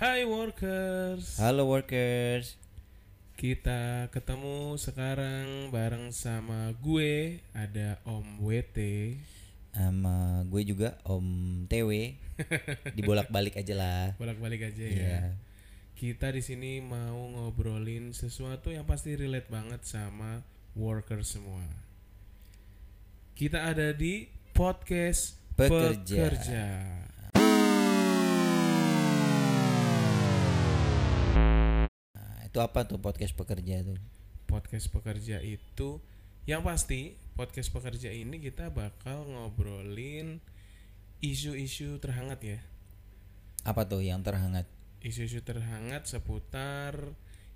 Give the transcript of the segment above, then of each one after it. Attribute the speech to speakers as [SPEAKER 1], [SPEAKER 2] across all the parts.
[SPEAKER 1] Hai workers,
[SPEAKER 2] Halo workers.
[SPEAKER 1] kita ketemu sekarang bareng sama gue ada Om WT.
[SPEAKER 2] Sama gue juga Om TW. Dibolak-balik aja lah.
[SPEAKER 1] Bolak-balik aja ya.
[SPEAKER 2] Iya.
[SPEAKER 1] Kita di sini mau ngobrolin sesuatu yang pasti relate banget sama workers semua. Kita ada di podcast
[SPEAKER 2] Pekerja.
[SPEAKER 1] Pekerja.
[SPEAKER 2] Nah, itu apa tuh podcast pekerja tuh?
[SPEAKER 1] podcast pekerja itu yang pasti podcast pekerja ini kita bakal ngobrolin isu-isu terhangat ya
[SPEAKER 2] Apa tuh yang terhangat?
[SPEAKER 1] isu-isu terhangat seputar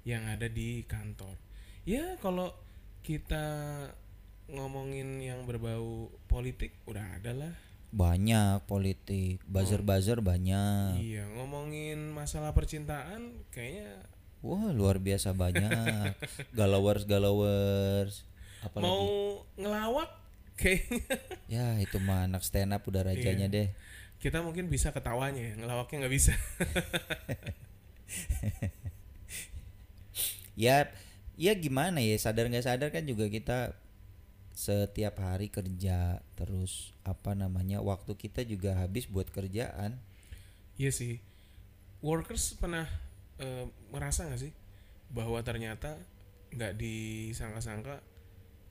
[SPEAKER 1] yang ada di kantor ya kalau kita ngomongin yang berbau politik udah ada lah
[SPEAKER 2] Banyak politik, buzzer-buzzer banyak.
[SPEAKER 1] iya ngomongin masalah percintaan kayaknya
[SPEAKER 2] Wah, luar biasa banyak. Galawers-galawers. Apalagi
[SPEAKER 1] mau ngelawak kayaknya
[SPEAKER 2] ya itu mah anak stand up udah rajanya
[SPEAKER 1] Iya.
[SPEAKER 2] deh.
[SPEAKER 1] kita mungkin bisa ketawanya ya ngelawaknya nggak bisa
[SPEAKER 2] ya ya gimana ya sadar nggak sadar kan juga kita setiap hari kerja terus apa namanya waktu kita juga habis buat kerjaan
[SPEAKER 1] Iya sih. Workers pernah eh, merasa nggak sih bahwa ternyata nggak disangka-sangka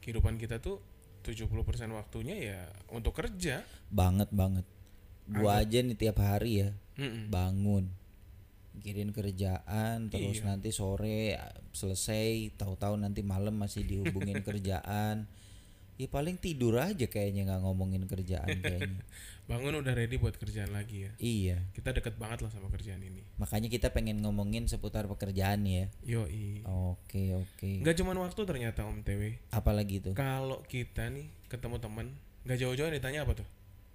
[SPEAKER 1] kehidupan kita tuh 70% waktunya ya untuk kerja.
[SPEAKER 2] banget banget gua aja nih tiap hari ya
[SPEAKER 1] Mm-mm.
[SPEAKER 2] bangun mikirin kerjaan terus
[SPEAKER 1] Iya.
[SPEAKER 2] nanti sore ah, selesai tahu-tahu nanti malam masih dihubungin kerjaan ya paling tidur aja kayaknya nggak ngomongin kerjaan kayaknya
[SPEAKER 1] Bangun udah ready buat kerjaan lagi ya.
[SPEAKER 2] iya
[SPEAKER 1] Kita deket banget lah sama kerjaan ini.
[SPEAKER 2] makanya kita pengen ngomongin seputar pekerjaan ya
[SPEAKER 1] Yoi.
[SPEAKER 2] oke oke
[SPEAKER 1] Nggak cuman waktu ternyata Om TW.
[SPEAKER 2] apalagi tuh
[SPEAKER 1] Kalau kita nih ketemu teman nggak jauh-jauh yang ditanya apa tuh?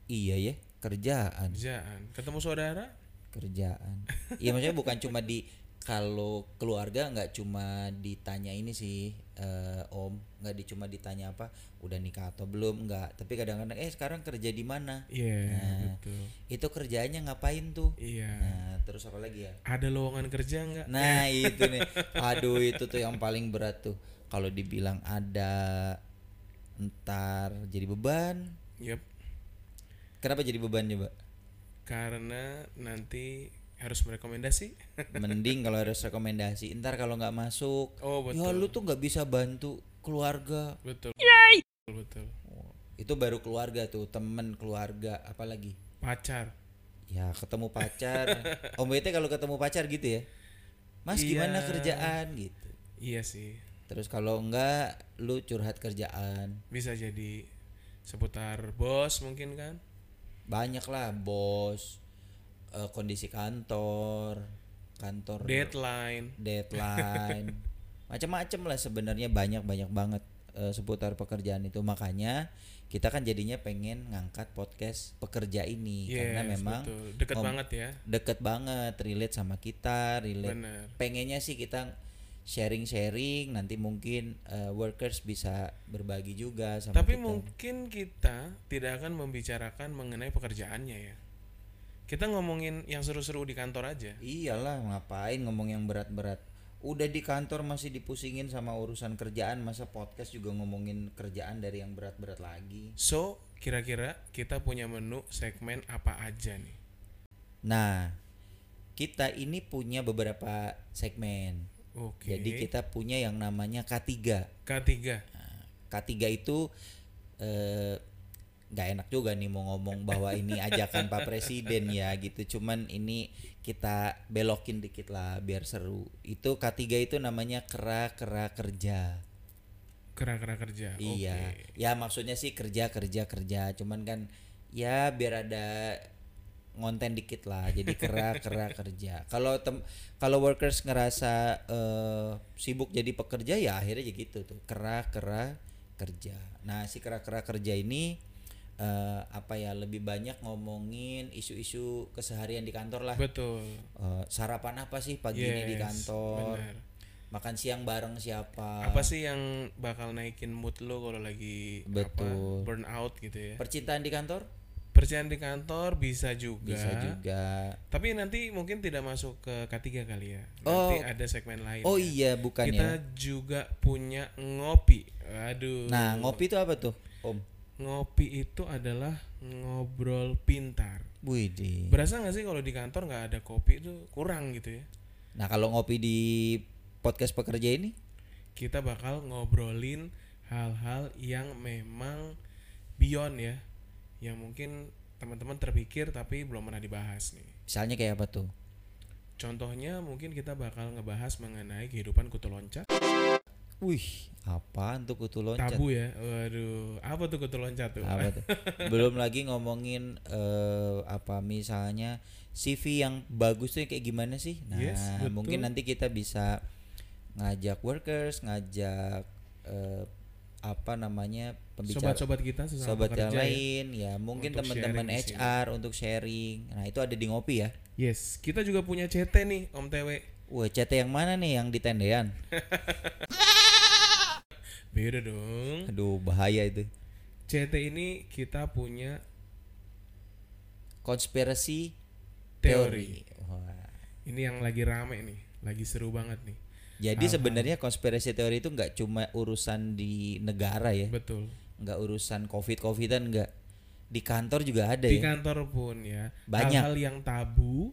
[SPEAKER 2] Iya ya, kerjaan,
[SPEAKER 1] Kerjaan. Ketemu saudara?
[SPEAKER 2] kerjaan. Iya maksudnya bukan cuma di kalau keluarga nggak cuma ditanya ini sih eh, Om, nggak di- cuma ditanya apa udah nikah atau belum nggak. Tapi kadang-kadang eh sekarang kerja di mana?
[SPEAKER 1] Iya,
[SPEAKER 2] Nah.
[SPEAKER 1] betul.
[SPEAKER 2] Itu kerjaannya ngapain tuh?
[SPEAKER 1] Iya.
[SPEAKER 2] Nah terus apa lagi ya?
[SPEAKER 1] Ada lowongan kerja nggak?
[SPEAKER 2] Nah itu nih, aduh itu tuh yang paling berat tuh. Kalau dibilang ada entar jadi beban.
[SPEAKER 1] Yep.
[SPEAKER 2] Kenapa jadi beban coba?
[SPEAKER 1] karena nanti harus merekomendasi.
[SPEAKER 2] Mending kalau harus rekomendasi, entar kalau nggak masuk
[SPEAKER 1] Oh betul,
[SPEAKER 2] Ya lu tuh nggak bisa bantu keluarga.
[SPEAKER 1] betul. Betul, betul.
[SPEAKER 2] Itu baru keluarga tuh, temen keluarga, apalagi.
[SPEAKER 1] Pacar.
[SPEAKER 2] Ya ketemu pacar. Om Bete kalau ketemu pacar gitu ya. Mas
[SPEAKER 1] Iya.
[SPEAKER 2] gimana kerjaan gitu.
[SPEAKER 1] Iya sih,
[SPEAKER 2] Terus kalau enggak lu curhat kerjaan.
[SPEAKER 1] bisa jadi seputar bos mungkin kan?
[SPEAKER 2] Banyak lah bos, eh, kondisi kantor, kantor
[SPEAKER 1] Deadline.
[SPEAKER 2] deadline macam-macam lah sebenarnya banyak banyak banget eh, seputar pekerjaan itu makanya kita kan jadinya pengen ngangkat podcast pekerja ini Iya, karena
[SPEAKER 1] Yes,
[SPEAKER 2] memang
[SPEAKER 1] betul. Deket
[SPEAKER 2] ngom-
[SPEAKER 1] banget ya.
[SPEAKER 2] deket banget relate sama kita relate
[SPEAKER 1] Bener.
[SPEAKER 2] pengennya sih kita sharing-sharing nanti mungkin eh, workers bisa berbagi juga sama
[SPEAKER 1] Tapi
[SPEAKER 2] kita
[SPEAKER 1] mungkin kita tidak akan membicarakan mengenai pekerjaannya ya. Kita ngomongin yang seru-seru di kantor aja.
[SPEAKER 2] iyalah ngapain ngomong yang berat-berat udah di kantor masih dipusingin sama urusan kerjaan masa podcast juga ngomongin kerjaan dari yang berat-berat lagi
[SPEAKER 1] So, kira-kira kita punya menu segmen apa aja nih?
[SPEAKER 2] Nah, kita ini punya beberapa segmen.
[SPEAKER 1] Oke.
[SPEAKER 2] Jadi kita punya yang namanya K3.
[SPEAKER 1] Ketiga.
[SPEAKER 2] Nah, K3 itu eh, nggak enak juga nih mau ngomong bahwa ini ajakan Pak Presiden ya gitu. Cuman ini kita belokin dikit lah biar seru. Itu K3 itu namanya kera-kera kerja.
[SPEAKER 1] Kera-kera kerja.
[SPEAKER 2] Iya.
[SPEAKER 1] Oke.
[SPEAKER 2] Ya maksudnya sih kerja kerja kerja. Cuman kan ya biar ada ngonten dikit lah. Jadi kera kera kerja. Kalau tem kalau workers ngerasa eh, sibuk jadi pekerja ya akhirnya jadi gitu tuh. Kera kera kerja. Nah si kera kera kerja ini eh, apa ya lebih banyak ngomongin isu-isu keseharian di kantor lah.
[SPEAKER 1] Betul.
[SPEAKER 2] Eh, sarapan apa sih pagi ini di
[SPEAKER 1] Yes,
[SPEAKER 2] kantor? ah.
[SPEAKER 1] benar.
[SPEAKER 2] Makan siang bareng siapa?
[SPEAKER 1] Apa sih yang bakal naikin mood lo kalau lagi
[SPEAKER 2] Betul.
[SPEAKER 1] burn out gitu ya?
[SPEAKER 2] Percintaan di kantor?
[SPEAKER 1] Percikan di kantor bisa juga.
[SPEAKER 2] bisa juga
[SPEAKER 1] Tapi nanti mungkin tidak masuk ke K3 kali ya.
[SPEAKER 2] Oh.
[SPEAKER 1] Nanti ada segmen lain.
[SPEAKER 2] oh
[SPEAKER 1] ya.
[SPEAKER 2] iya bukan
[SPEAKER 1] Kita
[SPEAKER 2] ya
[SPEAKER 1] juga punya ngopi. Aduh.
[SPEAKER 2] nah ngopi itu apa tuh om
[SPEAKER 1] Ngopi itu adalah ngobrol pintar.
[SPEAKER 2] Widih.
[SPEAKER 1] Berasa nggak sih kalau di kantor nggak ada kopi itu kurang gitu ya?
[SPEAKER 2] nah kalau ngopi di podcast pekerja ini
[SPEAKER 1] Kita bakal ngobrolin hal-hal yang memang beyond ya, yang mungkin teman-teman terpikir tapi belum pernah dibahas nih.
[SPEAKER 2] misalnya kayak apa tuh
[SPEAKER 1] Contohnya mungkin kita bakal ngebahas mengenai kehidupan kutu loncat.
[SPEAKER 2] wih apaan tuh kutu loncat
[SPEAKER 1] Tabu ya. Waduh, apa tuh kutu loncat tuh?
[SPEAKER 2] apa tuh? belum lagi ngomongin eh, apa misalnya CV yang bagus tuh kayak gimana sih nah
[SPEAKER 1] Yes, betul.
[SPEAKER 2] mungkin nanti kita bisa ngajak workers ngajak eh, apa namanya pembicara
[SPEAKER 1] Sobat-sobat kita sesama
[SPEAKER 2] sobat
[SPEAKER 1] pekerja
[SPEAKER 2] yang
[SPEAKER 1] ya.
[SPEAKER 2] lain ya, mungkin
[SPEAKER 1] Untuk
[SPEAKER 2] teman-teman
[SPEAKER 1] sharing di sini.
[SPEAKER 2] HR untuk sharing nah itu ada di ngopi ya
[SPEAKER 1] Yes, kita juga punya CT nih, Om TW.
[SPEAKER 2] Wah, CT yang mana nih yang di tendean?
[SPEAKER 1] Beda dong.
[SPEAKER 2] Aduh, bahaya itu.
[SPEAKER 1] CT ini kita punya
[SPEAKER 2] Konspirasi
[SPEAKER 1] teori.
[SPEAKER 2] teori. Wah.
[SPEAKER 1] Ini yang lagi rame nih, lagi seru banget nih.
[SPEAKER 2] Jadi sebenarnya konspirasi teori itu nggak cuma urusan di negara ya,
[SPEAKER 1] Betul.
[SPEAKER 2] nggak urusan covid covidan nggak. Di kantor juga ada
[SPEAKER 1] Di kan-
[SPEAKER 2] ya.
[SPEAKER 1] kantor pun ya.
[SPEAKER 2] Banyak.
[SPEAKER 1] Hal-hal yang tabu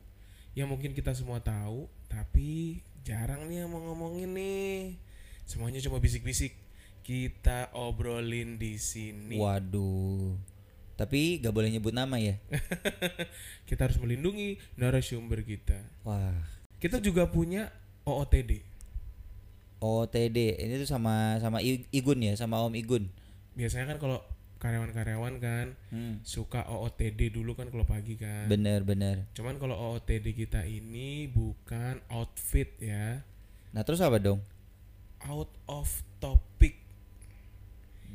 [SPEAKER 1] yang mungkin kita semua tahu, tapi jarang nih yang mau ngomongin nih. Semuanya cuma bisik-bisik. Kita obrolin di sini.
[SPEAKER 2] Waduh. Tapi nggak boleh nyebut nama
[SPEAKER 1] Eh.
[SPEAKER 2] ya.
[SPEAKER 1] kita harus melindungi narasumber kita.
[SPEAKER 2] Wah.
[SPEAKER 1] Kita juga punya OOTD.
[SPEAKER 2] OTD ini tuh sama sama I- Igun ya, sama Om Igun.
[SPEAKER 1] Biasanya kan kalau karyawan-karyawan kan
[SPEAKER 2] Hmm.
[SPEAKER 1] suka OOTD dulu kan kalau pagi kan.
[SPEAKER 2] Bener bener.
[SPEAKER 1] Cuman kalau OOTD kita ini bukan outfit ya.
[SPEAKER 2] Nah terus apa dong?
[SPEAKER 1] Out of topic.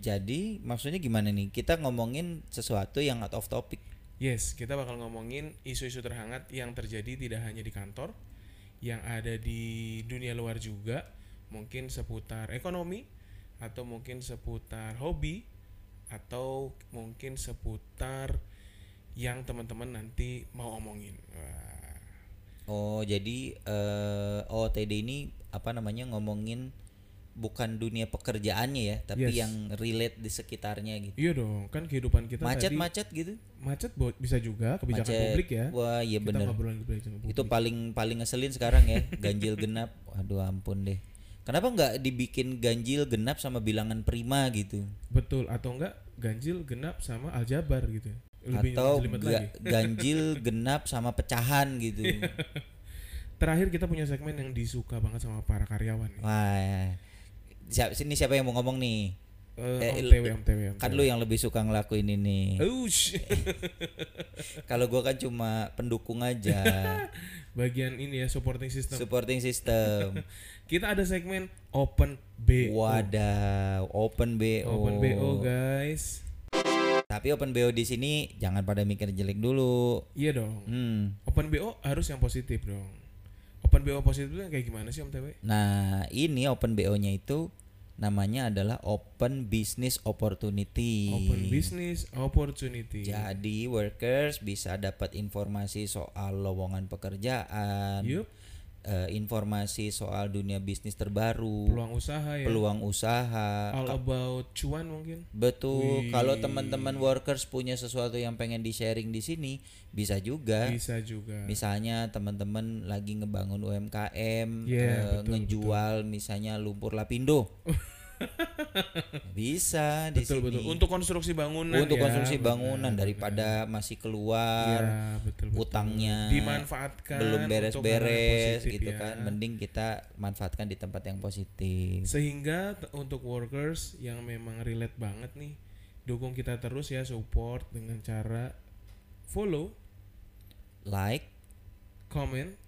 [SPEAKER 2] Jadi maksudnya gimana nih? Kita ngomongin sesuatu yang out of topic.
[SPEAKER 1] Yes, kita bakal ngomongin isu-isu terhangat yang terjadi tidak hanya di kantor, yang ada di dunia luar juga, mungkin seputar ekonomi atau mungkin seputar hobi atau mungkin seputar yang teman-teman nanti mau omongin. Wah.
[SPEAKER 2] Oh, jadi eh OOTD ini apa namanya ngomongin bukan dunia pekerjaannya ya, tapi
[SPEAKER 1] Yes.
[SPEAKER 2] yang relate di sekitarnya gitu.
[SPEAKER 1] Iya dong, kan kehidupan kita tadi
[SPEAKER 2] Macet-macet gitu.
[SPEAKER 1] macet bo- bisa juga kebijakan
[SPEAKER 2] Macet.
[SPEAKER 1] publik ya.
[SPEAKER 2] Wah, iya
[SPEAKER 1] Kita
[SPEAKER 2] bener.
[SPEAKER 1] ngobrolin kebijakan publik.
[SPEAKER 2] Itu paling paling ngeselin sekarang ya, ganjil genap. Aduh ampun deh. Kenapa nggak dibikin ganjil genap sama bilangan prima gitu?
[SPEAKER 1] Betul atau enggak ganjil genap sama aljabar gitu. ya. Lebih
[SPEAKER 2] Atau
[SPEAKER 1] jelimet
[SPEAKER 2] ga-
[SPEAKER 1] lagi.
[SPEAKER 2] ganjil genap sama pecahan gitu.
[SPEAKER 1] Terakhir kita punya segmen yang disuka banget sama para karyawan
[SPEAKER 2] Eh,
[SPEAKER 1] nih.
[SPEAKER 2] Wah. Siapa sini siapa yang mau ngomong nih?
[SPEAKER 1] Eh,
[SPEAKER 2] eh,
[SPEAKER 1] om TW, om TW, om
[SPEAKER 2] Kan
[SPEAKER 1] TW.
[SPEAKER 2] lu yang lebih suka ngelakuin ini.
[SPEAKER 1] Ush.
[SPEAKER 2] Kalau gua kan cuma pendukung aja,
[SPEAKER 1] Bagian ini ya supporting system.
[SPEAKER 2] supporting system.
[SPEAKER 1] Kita ada segmen open B.
[SPEAKER 2] Wadah, open BO.
[SPEAKER 1] oh. Open BO guys.
[SPEAKER 2] Tapi open BO di sini jangan pada mikir jelek dulu.
[SPEAKER 1] Iya dong.
[SPEAKER 2] Hmm.
[SPEAKER 1] Open BO harus yang positif dong. Open BO positif itu yang kayak gimana sih Om TW?
[SPEAKER 2] Nah, ini open BO-nya itu namanya adalah open business opportunity.
[SPEAKER 1] Open business opportunity.
[SPEAKER 2] Jadi workers bisa dapat informasi soal lowongan pekerjaan,
[SPEAKER 1] Yup,
[SPEAKER 2] eh, informasi soal dunia bisnis terbaru,
[SPEAKER 1] peluang usaha ya.
[SPEAKER 2] peluang usaha,
[SPEAKER 1] All about cuan mungkin.
[SPEAKER 2] Betul. Kalau teman-teman workers punya sesuatu yang pengen di-sharing di sini, bisa juga.
[SPEAKER 1] Bisa juga.
[SPEAKER 2] Misalnya teman-teman lagi ngebangun UMKM, eh,
[SPEAKER 1] Yeah, Iya, betul,
[SPEAKER 2] ngejual misalnya lumpur lapindo. bisa di
[SPEAKER 1] Betul
[SPEAKER 2] sini.
[SPEAKER 1] betul. Untuk konstruksi bangunan.
[SPEAKER 2] Untuk
[SPEAKER 1] ya,
[SPEAKER 2] konsumsi
[SPEAKER 1] benar.
[SPEAKER 2] bangunan daripada masih keluar
[SPEAKER 1] Ya, betul, betul.
[SPEAKER 2] utangnya
[SPEAKER 1] dimanfaatkan
[SPEAKER 2] Hmm, belum
[SPEAKER 1] untuk hal yang
[SPEAKER 2] beres-beres
[SPEAKER 1] positif
[SPEAKER 2] gitu
[SPEAKER 1] ya.
[SPEAKER 2] kan. Mending kita manfaatkan di tempat yang positif.
[SPEAKER 1] Sehingga t- untuk workers yang memang relate banget nih, dukung kita terus ya support dengan cara follow,
[SPEAKER 2] Like
[SPEAKER 1] comment,
[SPEAKER 2] Hmm.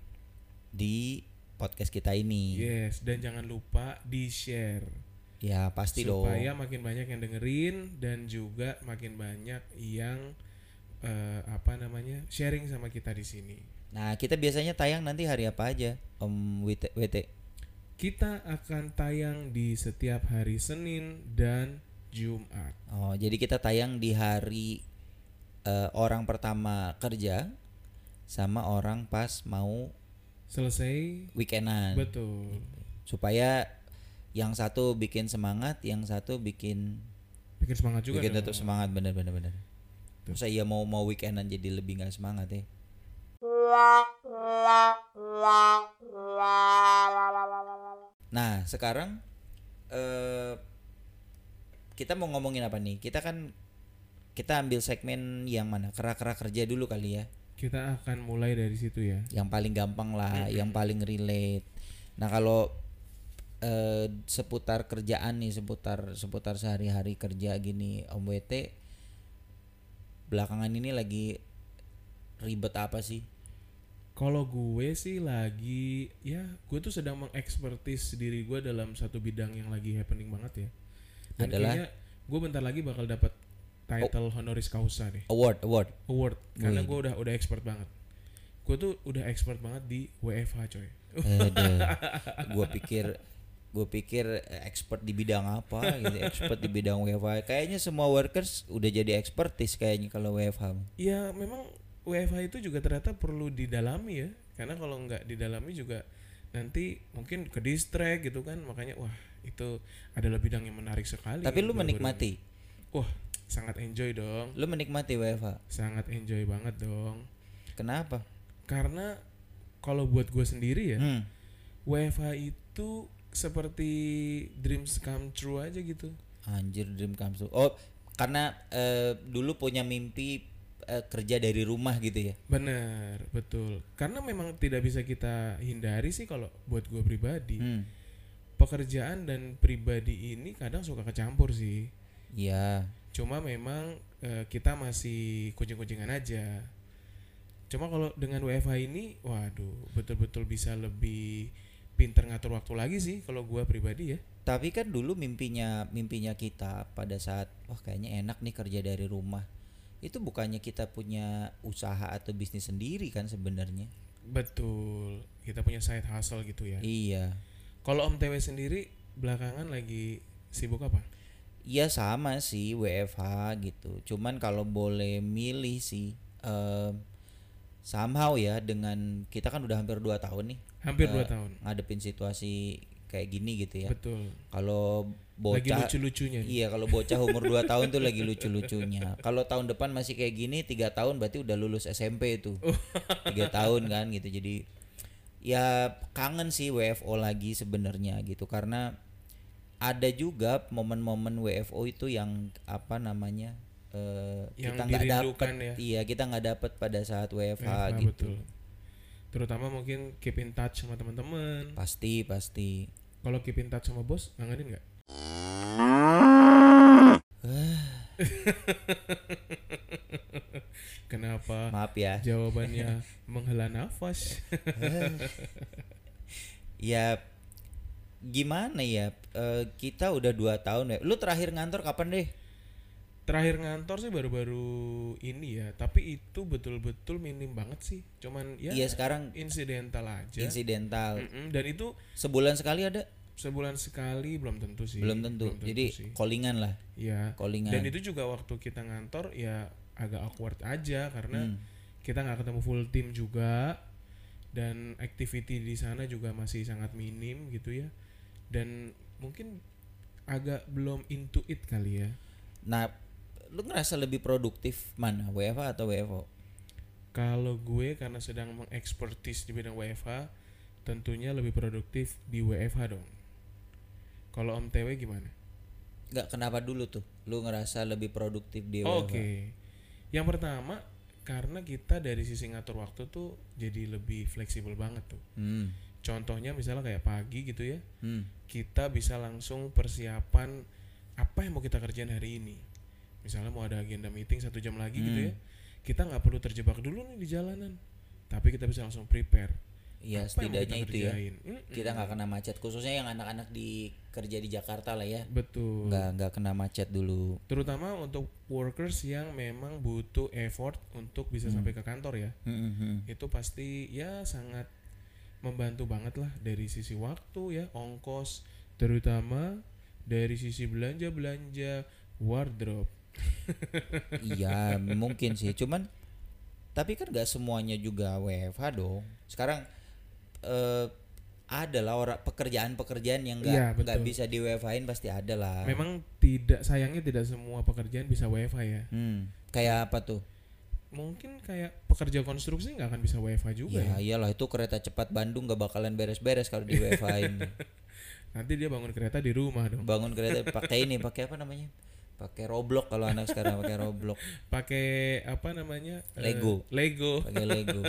[SPEAKER 2] di podcast kita ini.
[SPEAKER 1] yes dan jangan lupa di-share
[SPEAKER 2] Ya pasti dong.
[SPEAKER 1] supaya makin banyak yang dengerin dan juga makin banyak yang eh, apa namanya? sharing sama kita di sini.
[SPEAKER 2] Nah, kita biasanya tayang nanti hari apa aja, Om WT? WT?
[SPEAKER 1] Kita akan tayang di setiap hari Senin dan Jumat.
[SPEAKER 2] Oh, jadi kita tayang di hari eh, orang pertama kerja sama orang pas mau
[SPEAKER 1] selesai
[SPEAKER 2] weekendan
[SPEAKER 1] betul
[SPEAKER 2] supaya yang satu bikin semangat, yang satu bikin
[SPEAKER 1] bikin semangat juga
[SPEAKER 2] bikin
[SPEAKER 1] dong.
[SPEAKER 2] tetap semangat bener bener bener. Masa iya mau mau weekendan jadi lebih nggak semangat ya? Nah sekarang eh, kita mau ngomongin apa nih? Kita kan kita ambil segmen yang mana? Kerak-kerak kerja dulu kali ya.
[SPEAKER 1] kita akan mulai dari situ ya
[SPEAKER 2] yang paling gampang lah, yang paling relate. Nah kalau eh, seputar kerjaan nih, seputar seputar sehari-hari kerja gini, Om WT belakangan ini lagi ribet apa sih?
[SPEAKER 1] kalau gue sih lagi ya gue tuh sedang mengekspertis diri gue dalam satu bidang yang lagi happening banget ya dan
[SPEAKER 2] Adalah?
[SPEAKER 1] kayaknya gue bentar lagi bakal dapat title honoris causa nih
[SPEAKER 2] Award, award.
[SPEAKER 1] award karena
[SPEAKER 2] Wih.
[SPEAKER 1] gue udah udah expert banget gue tuh udah expert banget di WFH coy
[SPEAKER 2] Aduh, gue pikir gue pikir eh, expert di bidang apa gitu, expert di bidang WFH. Kayaknya semua workers udah jadi expertise kayaknya kalau WFH.
[SPEAKER 1] ya memang WFH itu juga ternyata perlu didalami ya karena kalau nggak didalami juga nanti mungkin ke distract gitu kan makanya wah itu adalah bidang yang menarik sekali
[SPEAKER 2] Tapi lu
[SPEAKER 1] ya, Baru-baru-
[SPEAKER 2] menikmati,
[SPEAKER 1] wah sangat enjoy dong
[SPEAKER 2] lu menikmati WFH.
[SPEAKER 1] sangat enjoy banget dong
[SPEAKER 2] Kenapa?
[SPEAKER 1] karena kalau buat gue sendiri ya
[SPEAKER 2] Hmm.
[SPEAKER 1] WFH itu seperti dreams come true aja gitu
[SPEAKER 2] Anjir dream come true. Oh, karena eh, dulu punya mimpi eh, kerja dari rumah gitu ya.
[SPEAKER 1] bener betul karena memang tidak bisa kita hindari sih kalau buat gue pribadi
[SPEAKER 2] Hmm.
[SPEAKER 1] pekerjaan dan pribadi ini kadang suka kecampur sih
[SPEAKER 2] Iya.
[SPEAKER 1] cuma memang eh, kita masih kucing-kucingan aja cuma kalau dengan WFH ini waduh betul-betul bisa lebih pinter ngatur waktu lagi sih kalau gua pribadi ya
[SPEAKER 2] Tapi kan dulu mimpinya mimpinya kita pada saat wah kayaknya enak nih kerja dari rumah. Itu bukannya kita punya usaha atau bisnis sendiri kan sebenarnya?
[SPEAKER 1] betul kita punya side hustle gitu ya
[SPEAKER 2] Iya.
[SPEAKER 1] kalau Om TW sendiri belakangan lagi sibuk apa
[SPEAKER 2] Iya sama sih WFH gitu. Cuman kalau boleh milih sih em, somehow ya dengan kita kan udah hampir 2 tahun nih
[SPEAKER 1] hampir
[SPEAKER 2] Eh,
[SPEAKER 1] dua tahun
[SPEAKER 2] ngadepin situasi kayak gini gitu ya.
[SPEAKER 1] betul
[SPEAKER 2] Kalau
[SPEAKER 1] lagi
[SPEAKER 2] bocah
[SPEAKER 1] lucu-lucunya nih.
[SPEAKER 2] Iya, kalau bocah umur 2 tahun tuh lagi lucu-lucunya. Kalau tahun depan masih kayak gini, tiga tahun berarti udah lulus SMP itu.
[SPEAKER 1] Oh.
[SPEAKER 2] tiga tahun kan gitu. Jadi ya kangen sih WFO lagi sebenarnya gitu karena ada juga momen-momen WFO itu yang apa namanya? eh,
[SPEAKER 1] Yang
[SPEAKER 2] kita nggak dapat
[SPEAKER 1] dirindukan ya.
[SPEAKER 2] iya kita nggak dapat pada saat WFH
[SPEAKER 1] Ah,
[SPEAKER 2] gitu
[SPEAKER 1] betul terutama mungkin keep in touch sama teman-teman
[SPEAKER 2] pasti pasti
[SPEAKER 1] Kalau keep in touch sama bos, ngangenin nggak? Kenapa?
[SPEAKER 2] maaf ya
[SPEAKER 1] Jawabannya menghela nafas.
[SPEAKER 2] ya gimana ya eh, kita udah dua tahun ya lu terakhir ngantor kapan deh
[SPEAKER 1] Terakhir ngantor sih baru-baru ini ya, tapi itu betul-betul minim banget sih. Cuman ya
[SPEAKER 2] iya sekarang
[SPEAKER 1] insidental aja.
[SPEAKER 2] insidental
[SPEAKER 1] Mm-mm, dan itu
[SPEAKER 2] sebulan sekali ada
[SPEAKER 1] sebulan sekali belum tentu sih.
[SPEAKER 2] belum tentu jadi
[SPEAKER 1] sih.
[SPEAKER 2] callingan lah
[SPEAKER 1] ya.
[SPEAKER 2] callingan
[SPEAKER 1] Dan itu juga waktu kita ngantor ya agak awkward aja karena
[SPEAKER 2] Hmm.
[SPEAKER 1] kita nggak ketemu full tim juga dan activity di sana juga masih sangat minim gitu ya dan mungkin agak belum into it kali ya
[SPEAKER 2] nah lu ngerasa lebih produktif mana WFA atau WFO
[SPEAKER 1] kalau gue karena sedang mengekspertis di bidang WFH tentunya lebih produktif di WFH dong kalau Om TW gimana?
[SPEAKER 2] nggak kenapa dulu tuh lu ngerasa lebih produktif di WFA
[SPEAKER 1] Oke yang pertama karena kita dari sisi ngatur waktu tuh jadi lebih fleksibel banget tuh
[SPEAKER 2] hmm.
[SPEAKER 1] contohnya misalnya kayak pagi gitu ya
[SPEAKER 2] hmm.
[SPEAKER 1] kita bisa langsung persiapan apa yang mau kita kerjain hari ini. Misalnya mau ada agenda meeting satu jam lagi gitu
[SPEAKER 2] Hmm.
[SPEAKER 1] ya, kita nggak perlu terjebak dulu nih di jalanan, tapi kita bisa langsung prepare.
[SPEAKER 2] ya
[SPEAKER 1] apa yang mau
[SPEAKER 2] setidaknya itu ya
[SPEAKER 1] kerjain. Mm-mm.
[SPEAKER 2] kita nggak kena macet khususnya yang anak-anak di kerja di Jakarta lah ya
[SPEAKER 1] Betul.
[SPEAKER 2] nggak nggak kena macet dulu
[SPEAKER 1] Terutama untuk workers yang memang butuh effort untuk bisa
[SPEAKER 2] Hmm.
[SPEAKER 1] sampai ke kantor ya, itu pasti ya sangat membantu banget lah dari sisi waktu ya, ongkos, terutama dari sisi belanja belanja wardrobe.
[SPEAKER 2] iya mungkin sih cuman tapi kan gak semuanya juga WFH dong sekarang eh, ada lah orang pekerjaan-pekerjaan yang
[SPEAKER 1] Iya,
[SPEAKER 2] gak, nggak
[SPEAKER 1] betul.
[SPEAKER 2] bisa di WFH-in pasti ada lah
[SPEAKER 1] Memang tidak sayangnya tidak semua pekerjaan bisa WFH ya.
[SPEAKER 2] Hmm, kayak apa tuh
[SPEAKER 1] Mungkin kayak pekerja konstruksi nggak akan bisa WFH juga ya.
[SPEAKER 2] ya iyalah itu kereta cepat Bandung gak bakalan beres-beres kalau di WFH-in
[SPEAKER 1] Nanti dia bangun kereta di rumah dong.
[SPEAKER 2] bangun kereta pakai ini pakai apa namanya pakai Roblox kalau anak sekarang pakai Roblox
[SPEAKER 1] Pakai apa namanya? eh,
[SPEAKER 2] Lego.
[SPEAKER 1] Lego.
[SPEAKER 2] pakai Lego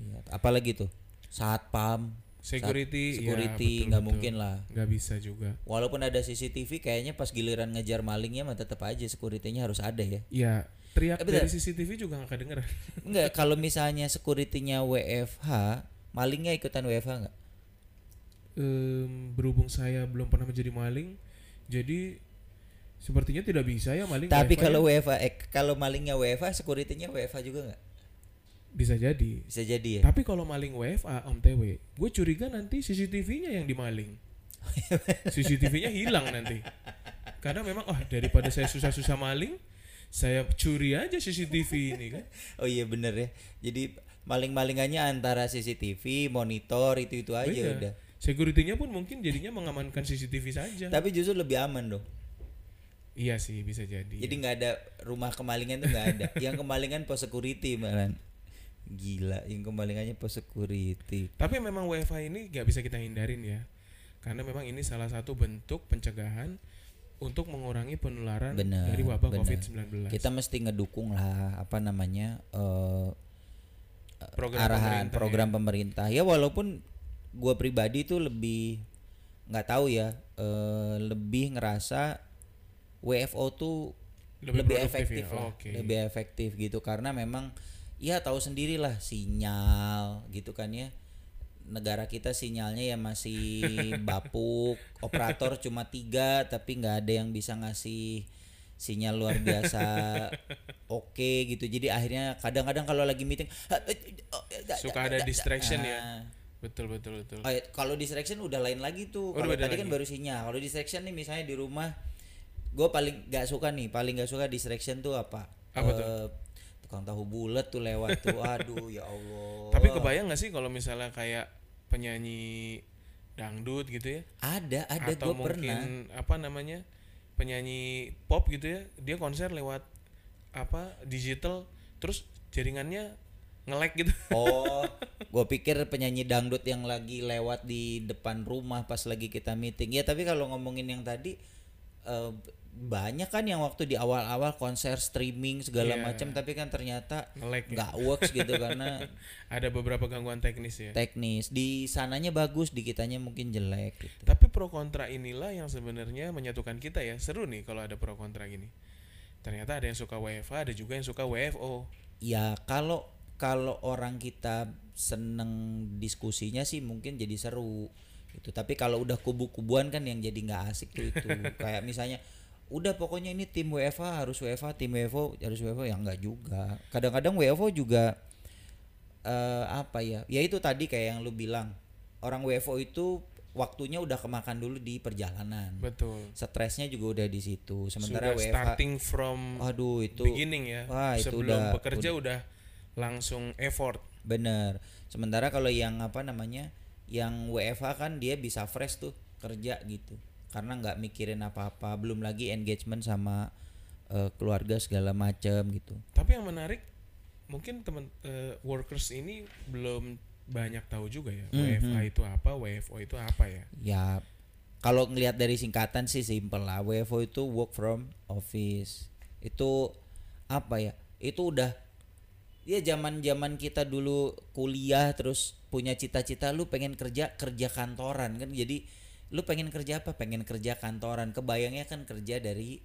[SPEAKER 2] Iya, apalagi tuh satpam
[SPEAKER 1] Security. ya,
[SPEAKER 2] security
[SPEAKER 1] betul,
[SPEAKER 2] nggak
[SPEAKER 1] betul.
[SPEAKER 2] mungkin lah
[SPEAKER 1] Nggak bisa juga.
[SPEAKER 2] walaupun ada CCTV kayaknya pas giliran ngejar malingnya mah tetap aja securitynya harus ada ya
[SPEAKER 1] Ya teriak
[SPEAKER 2] Eh, bentar.
[SPEAKER 1] dari CCTV juga nggak kedengeran.
[SPEAKER 2] enggak kalau misalnya securitynya WFH malingnya ikutan WFH enggak
[SPEAKER 1] Em, berhubung saya belum pernah menjadi maling, jadi sepertinya tidak bisa ya maling.
[SPEAKER 2] tapi
[SPEAKER 1] WFH ya.
[SPEAKER 2] kalau WFH eh, kalau malingnya WFH securitynya WFH juga enggak
[SPEAKER 1] bisa jadi.
[SPEAKER 2] bisa jadi ya
[SPEAKER 1] Tapi kalau maling WFA Om TW, gue curiga nanti CCTV-nya yang dimaling. CCTV-nya hilang nanti. Karena memang oh daripada saya susah-susah maling, saya curi aja CCTV ini kan.
[SPEAKER 2] oh iya bener ya jadi maling-malingannya antara CCTV monitor itu itu aja
[SPEAKER 1] Beda.
[SPEAKER 2] udah
[SPEAKER 1] Security-nya pun mungkin jadinya mengamankan CCTV saja.
[SPEAKER 2] tapi justru lebih aman dong
[SPEAKER 1] iya sih bisa jadi.
[SPEAKER 2] jadi nggak ada rumah kemalingan tuh nggak ada yang kemalingan pos security malahan gila yang kemalingannya pos security
[SPEAKER 1] Tapi memang WFA ini nggak bisa kita hindarin ya. Karena memang ini salah satu bentuk pencegahan untuk mengurangi penularan
[SPEAKER 2] Benar,
[SPEAKER 1] dari wabah
[SPEAKER 2] benar.
[SPEAKER 1] COVID-19.
[SPEAKER 2] kita mesti ngedukung lah apa namanya eh,
[SPEAKER 1] Program
[SPEAKER 2] arahan
[SPEAKER 1] pemerintah
[SPEAKER 2] program pemerintah ya walaupun gue pribadi tuh lebih nggak tahu ya eh, lebih ngerasa WFO tuh
[SPEAKER 1] Lebih
[SPEAKER 2] lebih,
[SPEAKER 1] produktif
[SPEAKER 2] efektif
[SPEAKER 1] ya?
[SPEAKER 2] lah
[SPEAKER 1] Oke.
[SPEAKER 2] lebih efektif gitu karena memang ya tahu sendirilah sinyal gitu kan ya negara kita sinyalnya ya masih bapuk operator cuma tiga tapi nggak ada yang bisa ngasih sinyal luar biasa oke gitu jadi akhirnya kadang-kadang kalau lagi meeting eh, oh,
[SPEAKER 1] Suka ada distraction ya.
[SPEAKER 2] Ah.
[SPEAKER 1] Betul betul betul.
[SPEAKER 2] Oh, ya, kalau distraction udah lain lagi tuh.
[SPEAKER 1] udah
[SPEAKER 2] Kalau
[SPEAKER 1] beda
[SPEAKER 2] tadi kan baru sinyal. Kalau distraction nih misalnya di rumah gue paling gak suka nih, paling gak suka distraction tuh apa?
[SPEAKER 1] Apa
[SPEAKER 2] Eh, Tukang tahu bulat tuh lewat tuh. Aduh, ya Allah.
[SPEAKER 1] Tapi kebayang nggak sih kalau misalnya kayak penyanyi dangdut gitu ya
[SPEAKER 2] ada, ada
[SPEAKER 1] atau
[SPEAKER 2] gue
[SPEAKER 1] mungkin
[SPEAKER 2] pernah.
[SPEAKER 1] apa namanya penyanyi pop gitu ya dia konser lewat apa digital terus jaringannya nge-lag gitu
[SPEAKER 2] Oh, gue pikir penyanyi dangdut yang lagi lewat di depan rumah pas lagi kita meeting. Ya tapi kalau ngomongin yang tadi eh, banyak kan yang waktu di awal-awal konser streaming segala
[SPEAKER 1] Iya.
[SPEAKER 2] macam tapi kan ternyata
[SPEAKER 1] nge-lag ya.
[SPEAKER 2] nggak works gitu karena
[SPEAKER 1] ada beberapa gangguan teknis ya
[SPEAKER 2] teknis di sananya bagus di kitanya mungkin jelek gitu.
[SPEAKER 1] tapi pro kontra inilah yang sebenarnya menyatukan kita ya seru nih kalau ada pro kontra gini ternyata ada yang suka WFA ada juga yang suka WFO
[SPEAKER 2] ya kalau kalau orang kita seneng diskusinya sih mungkin jadi seru itu tapi kalau udah kubu-kubuan kan yang jadi nggak asik tuh itu kayak misalnya udah pokoknya ini tim WFA harus WFA tim WFO harus WFO ya nggak juga kadang-kadang WFO juga eh apa ya ya itu tadi kayak yang lu bilang orang WFO itu waktunya udah kemakan dulu di perjalanan
[SPEAKER 1] betul
[SPEAKER 2] stresnya juga udah di situ
[SPEAKER 1] sudah
[SPEAKER 2] sementara WFH
[SPEAKER 1] starting from
[SPEAKER 2] aduh Oh, itu
[SPEAKER 1] beginning ya
[SPEAKER 2] Wah, itu
[SPEAKER 1] sebelum
[SPEAKER 2] udah-
[SPEAKER 1] bekerja udah langsung effort
[SPEAKER 2] bener sementara kalau yang apa namanya yang WFH kan dia bisa fresh tuh kerja gitu karena nggak mikirin apa-apa belum lagi engagement sama eh, keluarga segala macem gitu
[SPEAKER 1] tapi yang menarik mungkin teman eh, workers ini belum banyak tahu juga ya
[SPEAKER 2] Hmm,
[SPEAKER 1] WFA itu apa WFO itu apa ya
[SPEAKER 2] ya kalau ngelihat dari singkatan sih simple lah WFO itu work from office itu apa ya itu udah ya zaman zaman kita dulu kuliah terus punya cita-cita lu pengen kerja kerja kantoran kan jadi lu pengen kerja apa pengen kerja kantoran kebayangnya kan kerja dari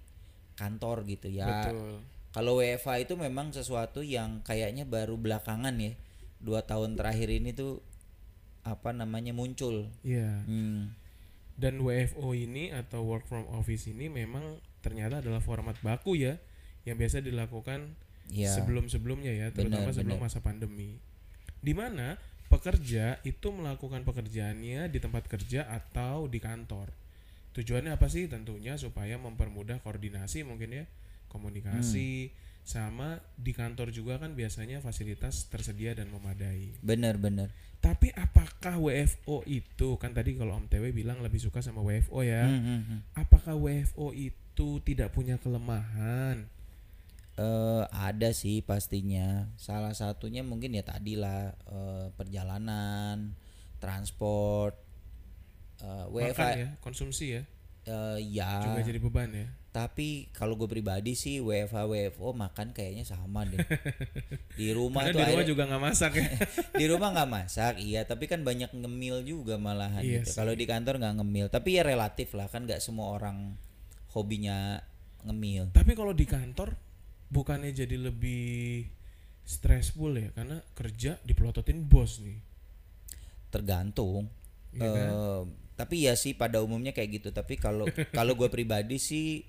[SPEAKER 2] kantor gitu ya
[SPEAKER 1] betul
[SPEAKER 2] kalau WFA itu memang sesuatu yang kayaknya baru belakangan ya dua tahun terakhir ini tuh apa namanya muncul
[SPEAKER 1] ya
[SPEAKER 2] Hmm.
[SPEAKER 1] dan WFO ini atau work from office ini memang ternyata adalah format baku ya yang biasa dilakukan
[SPEAKER 2] Ya,
[SPEAKER 1] sebelum-sebelumnya ya terutama
[SPEAKER 2] Benar,
[SPEAKER 1] sebelum
[SPEAKER 2] benar.
[SPEAKER 1] masa pandemi di mana pekerja itu melakukan pekerjaannya di tempat kerja atau di kantor tujuannya apa sih tentunya supaya mempermudah koordinasi mungkin ya komunikasi
[SPEAKER 2] Hmm.
[SPEAKER 1] sama di kantor juga kan biasanya fasilitas tersedia dan memadai.
[SPEAKER 2] bener bener
[SPEAKER 1] Tapi apakah WFO itu kan tadi kalau Om TW bilang lebih suka sama WFO ya.
[SPEAKER 2] Hmm, hmm, hmm.
[SPEAKER 1] Apakah WFO itu tidak punya kelemahan?
[SPEAKER 2] Eh, ada sih pastinya. Salah satunya mungkin ya tadilah eh, perjalanan, transport, eh,
[SPEAKER 1] Makan
[SPEAKER 2] WFH
[SPEAKER 1] ya, konsumsi ya,
[SPEAKER 2] eh, ya.
[SPEAKER 1] juga jadi beban ya.
[SPEAKER 2] Tapi kalau gue pribadi sih WFH WFO makan kayaknya sama deh. di rumah
[SPEAKER 1] Karena
[SPEAKER 2] tuh
[SPEAKER 1] di rumah
[SPEAKER 2] akhirnya-
[SPEAKER 1] juga nggak masak ya.
[SPEAKER 2] di rumah nggak masak iya tapi kan banyak ngemil juga malahan
[SPEAKER 1] Iya sih.
[SPEAKER 2] gitu kalau di kantor nggak ngemil tapi ya relatif lah kan nggak semua orang hobinya ngemil
[SPEAKER 1] Tapi kalau di kantor bukannya jadi lebih stressful ya karena kerja dipelototin bos nih.
[SPEAKER 2] tergantung
[SPEAKER 1] Iya kan?
[SPEAKER 2] Eh, tapi ya sih pada umumnya kayak gitu tapi kalau kalau gue pribadi sih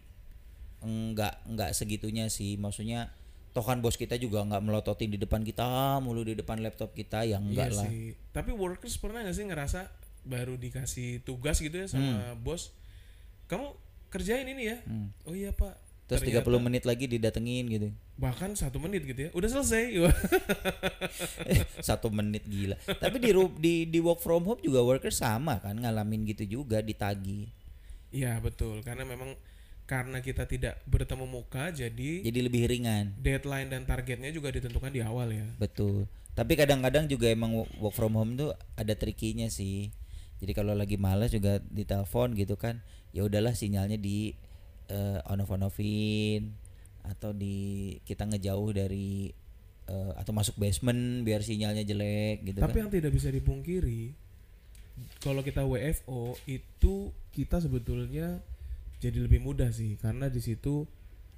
[SPEAKER 2] nggak nggak segitunya sih maksudnya toh kan bos kita juga nggak melototin di depan kita mulu di depan laptop kita
[SPEAKER 1] Iya
[SPEAKER 2] ya enggak lah
[SPEAKER 1] sih. Tapi workers pernah nggak sih ngerasa baru dikasih tugas gitu ya
[SPEAKER 2] Hmm.
[SPEAKER 1] sama bos, kamu kerjain ini ya? Oh iya pak.
[SPEAKER 2] terus
[SPEAKER 1] Ternyata-
[SPEAKER 2] 30 menit lagi didatengin gitu
[SPEAKER 1] bahkan satu menit gitu ya udah selesai Wah,
[SPEAKER 2] Eh, satu menit gila tapi di ru- di di work from home juga worker sama kan ngalamin gitu juga ditagi
[SPEAKER 1] iya betul karena memang karena kita tidak bertemu muka jadi
[SPEAKER 2] jadi lebih ringan
[SPEAKER 1] deadline dan targetnya juga ditentukan di awal ya
[SPEAKER 2] betul tapi kadang-kadang juga emang wo- work from home tuh ada trikinya sih jadi kalau lagi malas juga ditelepon gitu kan ya udahlah sinyalnya di eh, on off on offin atau di kita ngejauh dari eh, atau masuk basement biar sinyalnya jelek gitu
[SPEAKER 1] tapi
[SPEAKER 2] kan
[SPEAKER 1] yang tidak bisa dipungkiri kalau kita WFO itu kita sebetulnya jadi lebih mudah sih karena di situ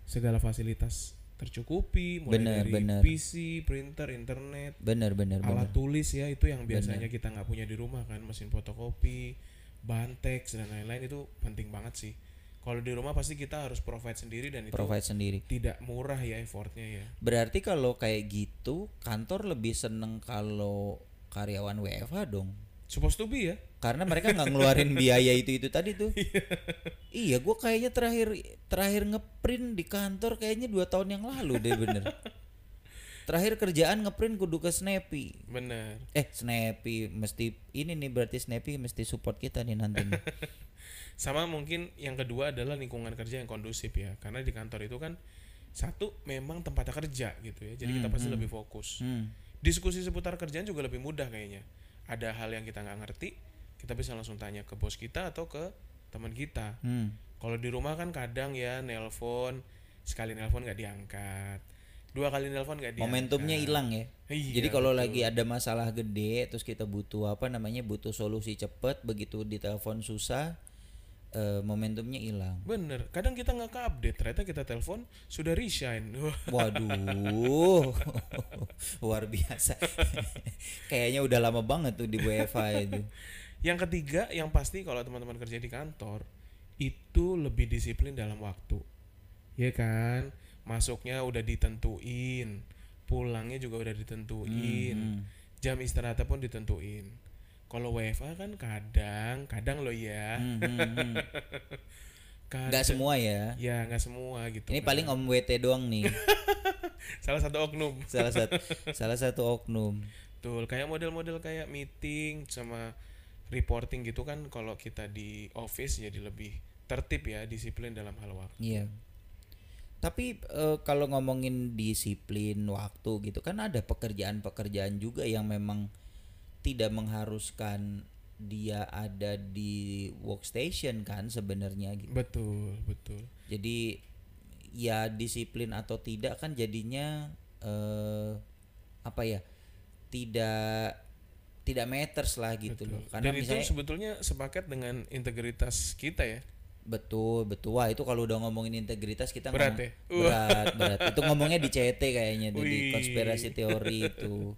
[SPEAKER 1] segala fasilitas tercukupi mulai
[SPEAKER 2] Benar,
[SPEAKER 1] dari
[SPEAKER 2] benar.
[SPEAKER 1] PC, printer, internet,
[SPEAKER 2] bener bener bener
[SPEAKER 1] alat tulis ya itu yang biasanya kita nggak punya di rumah kan mesin fotokopi bahan teks dan lain-lain itu penting banget sih kalau di rumah pasti kita harus provide sendiri dan itu
[SPEAKER 2] provide sendiri
[SPEAKER 1] tidak murah ya effortnya ya
[SPEAKER 2] Berarti kalau kayak gitu kantor lebih seneng kalau karyawan WFH dong.
[SPEAKER 1] supposed to be ya
[SPEAKER 2] Karena mereka nggak ngeluarin biaya itu-itu tadi tuh. iya, gua kayaknya terakhir terakhir ngeprint di kantor kayaknya dua tahun yang lalu deh bener. Terakhir kerjaan ngeprint kudu ke Snappy.
[SPEAKER 1] bener
[SPEAKER 2] Eh, Snappy mesti ini nih berarti Snappy mesti support kita nih nanti. nih.
[SPEAKER 1] sama mungkin yang kedua adalah lingkungan kerja yang kondusif ya karena di kantor itu kan satu memang tempat kerja gitu ya jadi kita pasti lebih fokus
[SPEAKER 2] Hmm.
[SPEAKER 1] diskusi seputar kerjaan juga lebih mudah kayaknya ada hal yang kita nggak ngerti kita bisa langsung tanya ke bos kita atau ke teman kita
[SPEAKER 2] Hmm.
[SPEAKER 1] Kalau di rumah kan kadang ya nelpon sekali nelpon nggak diangkat, dua kali nelpon nggak diangkat.
[SPEAKER 2] Momentumnya hilang ya.
[SPEAKER 1] Iya,
[SPEAKER 2] Jadi kalau lagi ada masalah gede terus kita butuh apa namanya butuh solusi cepet begitu ditelepon susah eh, momentumnya hilang.
[SPEAKER 1] bener. Kadang kita nggak ke update, ternyata kita telepon sudah resign. Wah,
[SPEAKER 2] Waduh. Luar biasa. Kayaknya udah lama banget tuh di WFA itu.
[SPEAKER 1] yang ketiga, yang pasti kalau teman-teman kerja di kantor itu lebih disiplin dalam waktu, ya kan? Masuknya udah ditentuin, pulangnya juga udah ditentuin,
[SPEAKER 2] Hmm,
[SPEAKER 1] jam istirahatnya pun ditentuin. Kalau WFA kan kadang, kadang loh ya.
[SPEAKER 2] Hmm, hmm, hmm.
[SPEAKER 1] Kadang-
[SPEAKER 2] Nggak semua ya.
[SPEAKER 1] Ya nggak semua gitu.
[SPEAKER 2] Ini
[SPEAKER 1] kan.
[SPEAKER 2] paling Om WT doang nih.
[SPEAKER 1] salah satu oknum.
[SPEAKER 2] Salah satu salah satu oknum.
[SPEAKER 1] Betul. Kayak model-model kayak meeting sama reporting gitu kan kalau kita di office jadi lebih tertib ya, disiplin dalam hal waktu.
[SPEAKER 2] Iya. Tapi eh, kalau ngomongin disiplin waktu gitu kan ada pekerjaan-pekerjaan juga yang memang tidak mengharuskan dia ada di workstation kan sebenarnya gitu.
[SPEAKER 1] Betul, betul.
[SPEAKER 2] Jadi ya disiplin atau tidak kan jadinya eh apa ya? tidak tidak matters lah gitu loh. Karena
[SPEAKER 1] Dan
[SPEAKER 2] misalnya
[SPEAKER 1] itu sebetulnya sepaket dengan integritas kita ya.
[SPEAKER 2] Betul, betul. Wah, itu kalau udah ngomongin integritas kita
[SPEAKER 1] Berat
[SPEAKER 2] ngomong-
[SPEAKER 1] ya?
[SPEAKER 2] berat, berat. Itu ngomongnya di CT kayaknya tuh, di
[SPEAKER 1] Wih.
[SPEAKER 2] konspirasi teori itu.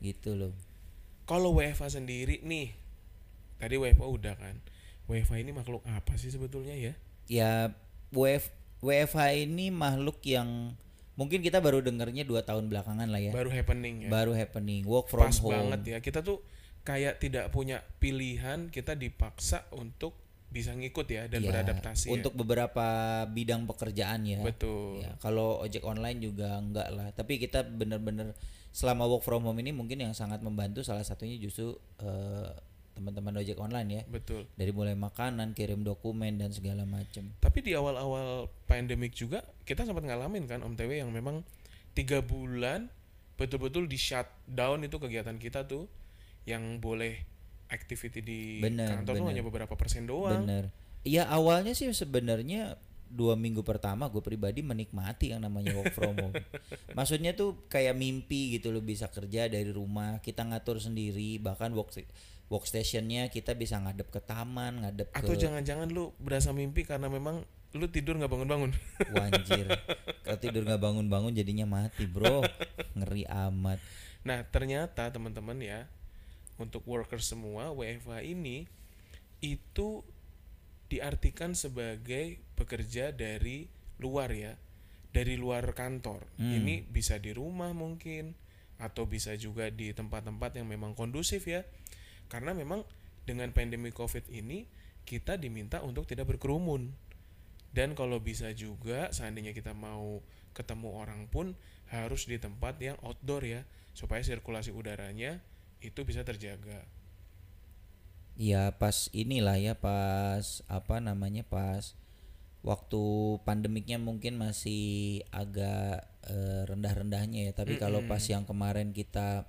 [SPEAKER 2] Gitu loh.
[SPEAKER 1] Kalau WFA sendiri nih, tadi WFA udah kan. WFA ini makhluk apa sih sebetulnya ya?
[SPEAKER 2] Ya WF, WFH ini makhluk yang mungkin kita baru dengernya dua tahun belakangan lah ya.
[SPEAKER 1] Baru happening ya.
[SPEAKER 2] Baru happening work from
[SPEAKER 1] Pas
[SPEAKER 2] home.
[SPEAKER 1] banget ya. Kita tuh kayak tidak punya pilihan, kita dipaksa untuk bisa ngikut ya dan
[SPEAKER 2] Ya,
[SPEAKER 1] beradaptasi ya.
[SPEAKER 2] untuk beberapa bidang pekerjaan ya.
[SPEAKER 1] betul
[SPEAKER 2] Ya, kalau ojek online juga enggak lah. Tapi kita benar-benar selama work from home ini mungkin yang sangat membantu salah satunya justru eh, teman-teman ojek online ya.
[SPEAKER 1] betul
[SPEAKER 2] Dari mulai makanan, kirim dokumen dan segala macam.
[SPEAKER 1] tapi di awal-awal pandemik juga kita sempat ngalamin kan Om TW yang memang tiga bulan betul-betul di shutdown itu kegiatan kita tuh yang boleh activity di
[SPEAKER 2] Bener,
[SPEAKER 1] kantor tuh
[SPEAKER 2] bener.
[SPEAKER 1] hanya beberapa persen doang
[SPEAKER 2] Bener. Iya awalnya sih sebenarnya dua minggu pertama gue pribadi menikmati yang namanya work from home. Maksudnya tuh kayak mimpi gitu loh bisa kerja dari rumah, kita ngatur sendiri, bahkan work workstationnya kita bisa ngadep ke taman, ngadep
[SPEAKER 1] atau
[SPEAKER 2] ke
[SPEAKER 1] jangan-jangan lu berasa mimpi karena memang lu tidur nggak bangun-bangun
[SPEAKER 2] wanjir. Kalau tidur nggak bangun-bangun jadinya mati bro, ngeri amat.
[SPEAKER 1] Nah, ternyata teman-teman ya, untuk worker semua WFH ini itu diartikan sebagai bekerja dari luar ya, dari luar kantor. Ini bisa di rumah mungkin atau bisa juga di tempat-tempat yang memang kondusif ya. Karena memang dengan pandemi Covid ini kita diminta untuk tidak berkerumun. Dan kalau bisa juga seandainya kita mau ketemu orang pun harus di tempat yang outdoor ya supaya sirkulasi udaranya itu bisa terjaga.
[SPEAKER 2] Hmm. Ya pas inilah ya pas apa namanya pas waktu pandemiknya mungkin masih agak eh, rendah-rendahnya ya tapi kalau pas yang kemarin kita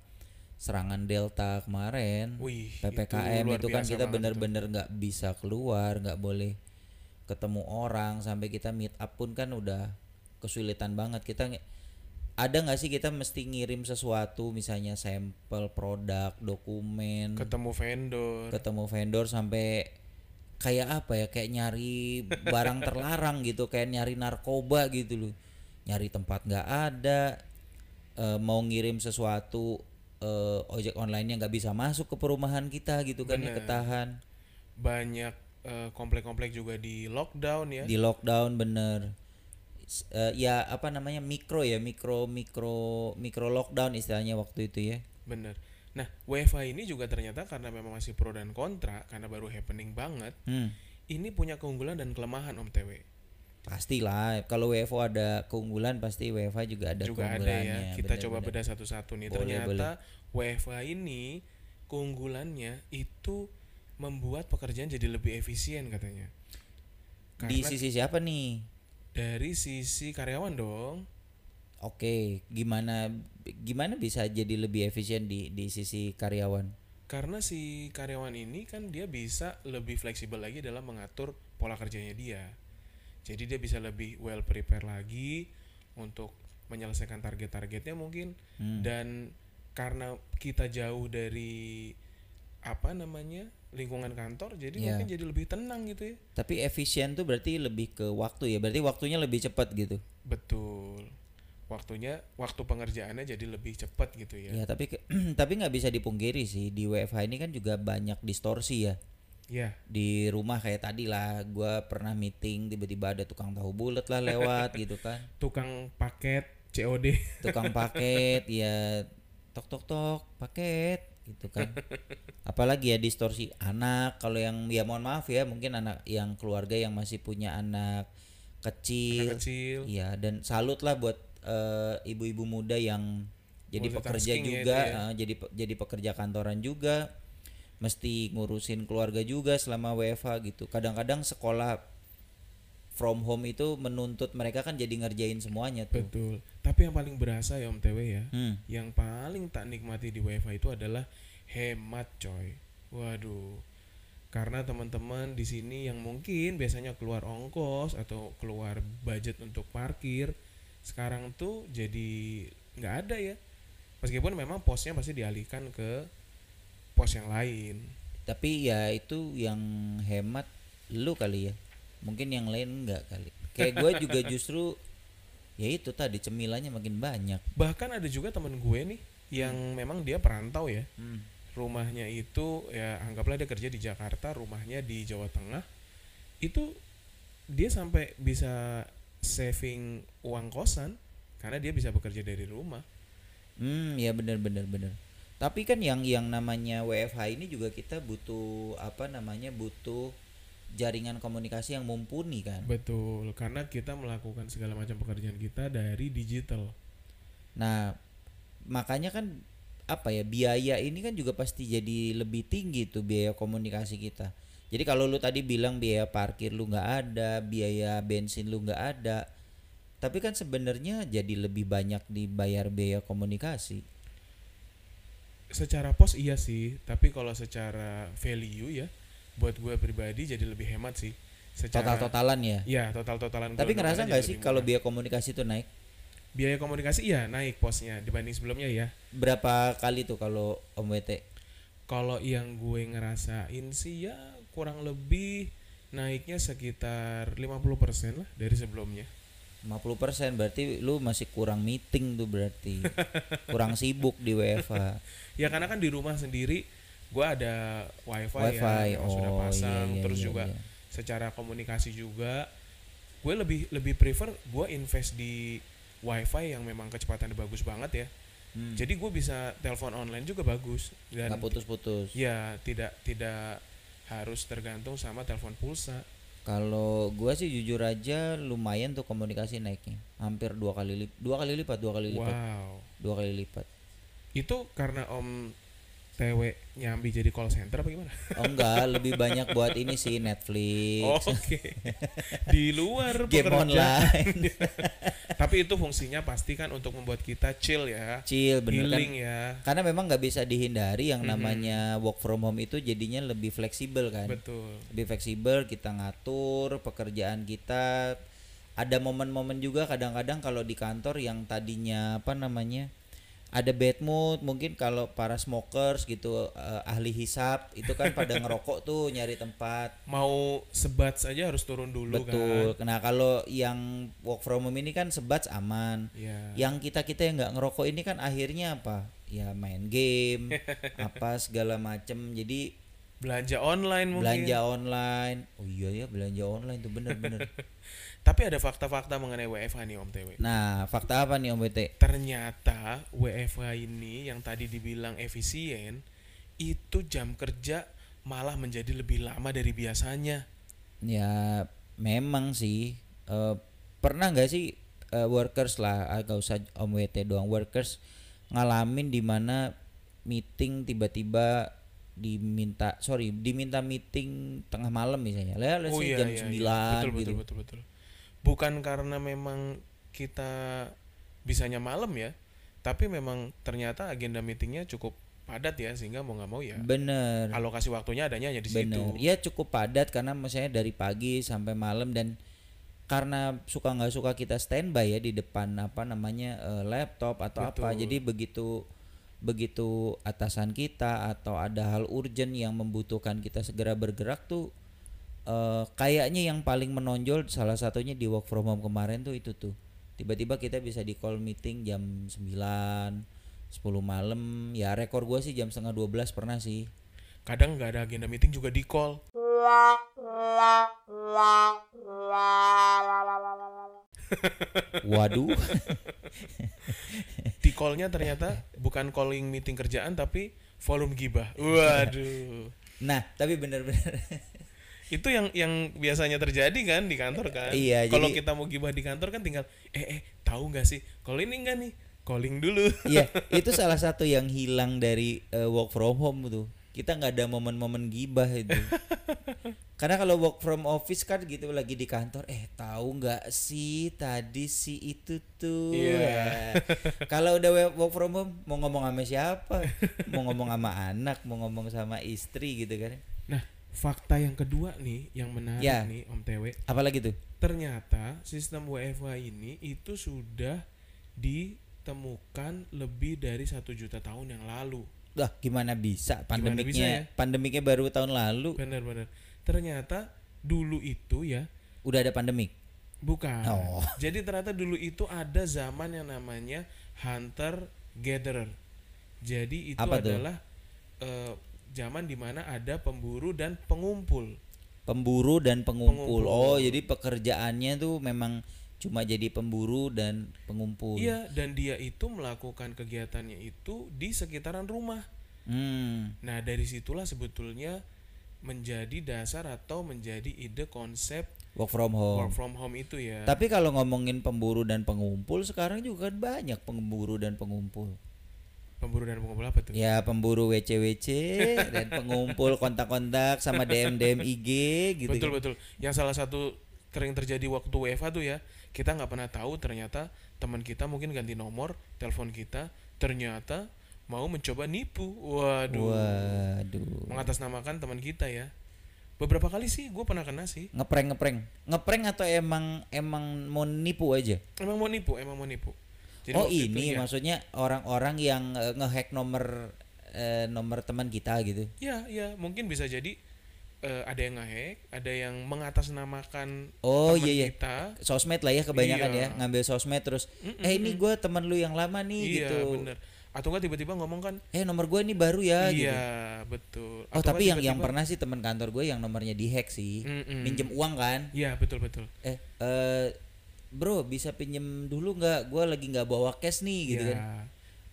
[SPEAKER 2] serangan delta kemarin
[SPEAKER 1] Wih, itu
[SPEAKER 2] PPKM
[SPEAKER 1] luar
[SPEAKER 2] itu, kan
[SPEAKER 1] biasa
[SPEAKER 2] kita
[SPEAKER 1] banget
[SPEAKER 2] bener-bener nggak bisa keluar nggak boleh ketemu orang sampai kita meet up pun kan udah kesulitan banget kita nge- ada nggak sih kita mesti ngirim sesuatu misalnya sampel produk dokumen
[SPEAKER 1] Ketemu vendor.
[SPEAKER 2] ketemu vendor sampai kayak apa ya kayak nyari barang terlarang gitu kayak nyari narkoba gitu loh nyari tempat nggak ada eh, mau ngirim sesuatu eh, ojek online yang nggak bisa masuk ke perumahan kita gitu kan ya ketahan
[SPEAKER 1] Banyak eh, komplek-komplek juga di lockdown ya.
[SPEAKER 2] di lockdown bener S- eh, ya apa namanya mikro ya mikro mikro mikro lockdown istilahnya waktu itu ya
[SPEAKER 1] Bener. Nah, WFH ini juga ternyata karena memang masih pro dan kontra karena baru happening banget.
[SPEAKER 2] hmm.
[SPEAKER 1] Ini punya keunggulan dan kelemahan Om TW.
[SPEAKER 2] pastilah kalau WFO ada keunggulan pasti WFA juga ada
[SPEAKER 1] juga ada
[SPEAKER 2] keunggulannya
[SPEAKER 1] ya. Kita
[SPEAKER 2] bener,
[SPEAKER 1] coba
[SPEAKER 2] bener.
[SPEAKER 1] bedah satu-satu nih.
[SPEAKER 2] Boleh,
[SPEAKER 1] Ternyata WFH ini keunggulannya itu membuat pekerjaan jadi lebih efisien katanya.
[SPEAKER 2] di
[SPEAKER 1] Karena
[SPEAKER 2] sisi siapa nih?
[SPEAKER 1] dari sisi karyawan dong.
[SPEAKER 2] Oke, gimana gimana bisa jadi lebih efisien di di sisi karyawan?
[SPEAKER 1] Karena si karyawan ini kan dia bisa lebih fleksibel lagi dalam mengatur pola kerjanya dia. Jadi dia bisa lebih well prepare lagi untuk menyelesaikan target-targetnya mungkin
[SPEAKER 2] Hmm.
[SPEAKER 1] dan karena kita jauh dari apa namanya lingkungan kantor jadi
[SPEAKER 2] Iya.
[SPEAKER 1] mungkin jadi lebih tenang gitu ya
[SPEAKER 2] Tapi efisien tuh berarti lebih ke waktu ya. Berarti waktunya lebih cepat gitu.
[SPEAKER 1] betul waktunya waktu pengerjaannya jadi lebih cepat gitu ya
[SPEAKER 2] Ya, tapi ke- tapi nggak bisa dipungkiri sih di WFH ini kan juga banyak distorsi ya.
[SPEAKER 1] ya
[SPEAKER 2] Di rumah kayak tadi lah, gua pernah meeting tiba-tiba ada tukang tahu bulat lah lewat gitu kan.
[SPEAKER 1] tukang paket COD
[SPEAKER 2] tukang paket ya tok tok tok paket gitu kan apalagi ya distorsi anak kalau yang ya mohon maaf ya mungkin anak yang keluarga yang masih punya
[SPEAKER 1] anak
[SPEAKER 2] anak kecil
[SPEAKER 1] kecil
[SPEAKER 2] ya dan salut lah buat eh, ibu-ibu muda yang jadi pekerja
[SPEAKER 1] Multitasking ya itu
[SPEAKER 2] juga
[SPEAKER 1] ya.
[SPEAKER 2] eh, jadi pe- jadi pekerja kantoran juga mesti ngurusin keluarga juga selama WFH gitu kadang-kadang sekolah from home itu menuntut mereka kan jadi ngerjain semuanya tuh
[SPEAKER 1] Betul. Tapi yang paling berasa ya Om TW ya,
[SPEAKER 2] Hmm.
[SPEAKER 1] yang paling tak nikmati di WiFi itu adalah hemat coy. Waduh. Karena teman-teman di sini yang mungkin biasanya keluar ongkos atau keluar budget untuk parkir, sekarang tuh jadi nggak ada ya. Meskipun memang posnya pasti dialihkan ke pos yang lain.
[SPEAKER 2] Tapi ya itu yang hemat lu kali ya. Mungkin yang lain enggak kali. Kayak gue juga justru ya itu tadi cemilannya makin banyak.
[SPEAKER 1] Bahkan ada juga temen gue nih yang memang dia perantau ya. rumahnya itu ya anggaplah dia kerja di Jakarta, rumahnya di Jawa Tengah. Itu dia sampai bisa saving uang kosan karena dia bisa bekerja dari rumah.
[SPEAKER 2] Hmm, ya benar benar benar. Tapi kan yang yang namanya WFH ini juga kita butuh apa namanya butuh jaringan komunikasi yang mumpuni kan.
[SPEAKER 1] Betul, karena kita melakukan segala macam pekerjaan kita dari digital.
[SPEAKER 2] Nah, makanya kan apa ya biaya ini kan juga pasti jadi lebih tinggi tuh biaya komunikasi kita. Jadi kalau lu tadi bilang biaya parkir lu nggak ada, biaya bensin lu nggak ada, tapi kan sebenarnya jadi lebih banyak dibayar biaya komunikasi.
[SPEAKER 1] Secara pos iya sih, tapi kalau secara value ya, buat gue pribadi jadi lebih hemat sih. Secara
[SPEAKER 2] Total-totalan ya.
[SPEAKER 1] Iya, total-totalan.
[SPEAKER 2] Tapi
[SPEAKER 1] keuntungannya
[SPEAKER 2] ngerasa
[SPEAKER 1] jadi
[SPEAKER 2] nggak sih
[SPEAKER 1] lebih
[SPEAKER 2] kalau
[SPEAKER 1] murah.
[SPEAKER 2] biaya komunikasi itu naik?
[SPEAKER 1] biaya komunikasi iya naik posnya dibanding sebelumnya ya.
[SPEAKER 2] Berapa kali tuh kalau Om WT?
[SPEAKER 1] Kalau yang gue ngerasain sih ya kurang lebih naiknya sekitar 50% lah dari sebelumnya.
[SPEAKER 2] 50% berarti lu masih kurang meeting tuh berarti. kurang sibuk di WFH.
[SPEAKER 1] Ya karena kan di rumah sendiri gue ada wifi,
[SPEAKER 2] Wifi,
[SPEAKER 1] ya yang sudah
[SPEAKER 2] oh, iya,
[SPEAKER 1] pasang
[SPEAKER 2] iya,
[SPEAKER 1] terus
[SPEAKER 2] iya,
[SPEAKER 1] juga
[SPEAKER 2] iya.
[SPEAKER 1] secara komunikasi juga gue lebih lebih prefer gue invest di wifi yang memang kecepatannya bagus banget ya.
[SPEAKER 2] Hmm.
[SPEAKER 1] Jadi gue bisa telepon online juga bagus dan
[SPEAKER 2] nggak putus-putus.
[SPEAKER 1] ya tidak tidak harus tergantung sama telepon pulsa.
[SPEAKER 2] Kalau gua sih jujur aja lumayan tuh komunikasi naiknya. Hampir dua kali lipat, dua kali lipat, dua kali lipat,
[SPEAKER 1] Wow.
[SPEAKER 2] dua kali lipat.
[SPEAKER 1] Itu karena Om TW nyambi jadi call center apa gimana?
[SPEAKER 2] Oh enggak, lebih banyak buat ini sih Netflix,
[SPEAKER 1] Oke. Di luar
[SPEAKER 2] Iya. game
[SPEAKER 1] pekerjaan.
[SPEAKER 2] online.
[SPEAKER 1] Tapi itu fungsinya pasti kan untuk membuat kita chill ya.
[SPEAKER 2] Chill bener kan?
[SPEAKER 1] Healing ya.
[SPEAKER 2] Karena memang nggak bisa dihindari yang
[SPEAKER 1] Mhm.
[SPEAKER 2] namanya work from home itu jadinya lebih fleksibel kan.
[SPEAKER 1] Betul.
[SPEAKER 2] lebih fleksibel kita ngatur pekerjaan kita ada momen-momen juga kadang-kadang kalau di kantor yang tadinya apa namanya ada bad mood mungkin kalau para smokers gitu eh, ahli hisap itu kan pada ngerokok tuh nyari tempat
[SPEAKER 1] Mau sebat saja harus turun dulu
[SPEAKER 2] betul
[SPEAKER 1] kan.
[SPEAKER 2] nah kalau yang work from home ini kan sebat aman
[SPEAKER 1] Ya.
[SPEAKER 2] yang kita kita yang nggak ngerokok ini kan akhirnya apa ya main game apa segala macem jadi
[SPEAKER 1] Belanja online mungkin.
[SPEAKER 2] belanja online oh iya ya belanja online tuh bener-bener
[SPEAKER 1] Tapi ada fakta-fakta mengenai WFH nih Om TW.
[SPEAKER 2] Nah, fakta apa nih Om BT?
[SPEAKER 1] Ternyata WFH ini yang tadi dibilang efisien itu jam kerja malah menjadi lebih lama dari biasanya.
[SPEAKER 2] Ya, memang sih eh, pernah nggak sih eh, workers lah, ah, nggak usah Om WT doang workers ngalamin di mana meeting tiba-tiba diminta sorry diminta meeting tengah malam misalnya lah
[SPEAKER 1] Oh
[SPEAKER 2] let's say jam 9
[SPEAKER 1] iya, Betul,
[SPEAKER 2] gitu
[SPEAKER 1] betul, betul, betul. Bukan karena memang kita bisanya malam ya, tapi memang ternyata agenda meetingnya cukup padat ya sehingga mau nggak mau ya
[SPEAKER 2] bener
[SPEAKER 1] alokasi waktunya adanya hanya di
[SPEAKER 2] Bener.
[SPEAKER 1] situ.
[SPEAKER 2] Ya cukup padat karena misalnya dari pagi sampai malam dan karena suka nggak suka kita standby ya di depan apa namanya eh, laptop atau apa.
[SPEAKER 1] Betul.
[SPEAKER 2] Jadi begitu begitu atasan kita atau ada hal urgent yang membutuhkan kita segera bergerak tuh eh, kayaknya yang paling menonjol salah satunya di work from home kemarin tuh itu tuh. Tiba-tiba kita bisa di call meeting jam 9 10 malam ya rekor gua sih jam setengah 12 pernah sih
[SPEAKER 1] Kadang nggak ada agenda meeting juga di call.
[SPEAKER 2] waduh
[SPEAKER 1] Di callnya ternyata bukan calling meeting kerjaan tapi forum gibah. Waduh.
[SPEAKER 2] Nah, tapi bener-bener
[SPEAKER 1] itu yang yang biasanya terjadi kan di kantor kan
[SPEAKER 2] Iya,
[SPEAKER 1] kalau
[SPEAKER 2] jadi-
[SPEAKER 1] kita mau gibah di kantor kan tinggal eh eh tahu nggak sih kalau ini enggak nih calling dulu
[SPEAKER 2] Iya, itu salah satu yang hilang dari eh, work from home tuh. Kita nggak ada momen-momen gibah itu. Karena kalau work from office kan gitu lagi di kantor, eh tahu nggak sih tadi si itu tuh.
[SPEAKER 1] Iya.
[SPEAKER 2] Ya. Kalau udah we- work from home mau ngomong sama siapa? Mau ngomong sama anak, mau ngomong sama istri gitu kan.
[SPEAKER 1] nah fakta yang kedua nih yang menarik
[SPEAKER 2] Ya.
[SPEAKER 1] nih om tw
[SPEAKER 2] Apalagi tuh?
[SPEAKER 1] ternyata sistem wfa ini itu sudah ditemukan lebih dari satu juta tahun yang lalu
[SPEAKER 2] Lah, gimana bisa
[SPEAKER 1] Gimana
[SPEAKER 2] pandemiknya?
[SPEAKER 1] bisa ya?
[SPEAKER 2] Pandemiknya baru tahun lalu
[SPEAKER 1] benar-benar ternyata dulu itu ya
[SPEAKER 2] udah ada pandemik.
[SPEAKER 1] Bukan.
[SPEAKER 2] Oh.
[SPEAKER 1] Jadi ternyata dulu itu ada zaman yang namanya hunter gatherer. Jadi itu
[SPEAKER 2] Apa tuh?
[SPEAKER 1] adalah eh, zaman dimana ada pemburu dan pengumpul.
[SPEAKER 2] pemburu dan pengumpul.
[SPEAKER 1] Pengumpul.
[SPEAKER 2] Oh, jadi pekerjaannya tuh memang cuma jadi pemburu dan pengumpul.
[SPEAKER 1] Iya, dan dia itu melakukan kegiatannya itu di sekitaran rumah.
[SPEAKER 2] Hmm.
[SPEAKER 1] Nah, dari situlah sebetulnya menjadi dasar atau menjadi ide konsep
[SPEAKER 2] work from home.
[SPEAKER 1] work from home itu ya.
[SPEAKER 2] Tapi kalau ngomongin pemburu dan pengumpul sekarang juga kan banyak pemburu dan pengumpul.
[SPEAKER 1] Pemburu dan pengumpul apa tuh?
[SPEAKER 2] Ya pemburu WC-WC dan pengumpul kontak-kontak sama DM-DM IG gitu.
[SPEAKER 1] betul betul. Yang salah satu sering terjadi waktu WFH tuh ya, kita nggak pernah tahu ternyata teman kita mungkin ganti nomor telepon kita, ternyata mau mencoba nipu. Waduh.
[SPEAKER 2] Waduh.
[SPEAKER 1] Mengatasnamakan teman kita ya. Beberapa kali sih gue pernah kena sih.
[SPEAKER 2] Ngepreng ngepreng. Ngepreng atau emang emang mau nipu aja?
[SPEAKER 1] Emang mau nipu, emang mau nipu.
[SPEAKER 2] oh
[SPEAKER 1] waktu itu
[SPEAKER 2] ini
[SPEAKER 1] ya,
[SPEAKER 2] maksudnya orang-orang yang eh, ngehack nomor eh, nomor teman kita gitu.
[SPEAKER 1] Ya, ya, mungkin bisa jadi eh, ada yang ngehack, ada yang mengatasnamakan
[SPEAKER 2] Oh
[SPEAKER 1] teman
[SPEAKER 2] iya iya.
[SPEAKER 1] kita.
[SPEAKER 2] Sosmed lah ya kebanyakan
[SPEAKER 1] Iya.
[SPEAKER 2] ya ngambil sosmed terus. Eh ini gue teman lu yang lama nih
[SPEAKER 1] Iya,
[SPEAKER 2] gitu.
[SPEAKER 1] bener. Atau enggak tiba-tiba ngomong kan?
[SPEAKER 2] Eh nomor gue ini baru ya gitu.
[SPEAKER 1] Iya, betul.
[SPEAKER 2] Oh
[SPEAKER 1] Atau
[SPEAKER 2] tapi yang
[SPEAKER 1] nggak
[SPEAKER 2] yang
[SPEAKER 1] tiba-tiba-
[SPEAKER 2] pernah sih teman kantor gue yang nomornya dihack sih.
[SPEAKER 1] Mm-mm.
[SPEAKER 2] Minjem uang kan?
[SPEAKER 1] Iya, betul betul.
[SPEAKER 2] Eh eh, bro bisa pinjem dulu nggak? Gue lagi nggak bawa cash nih gitu
[SPEAKER 1] Iya.
[SPEAKER 2] kan.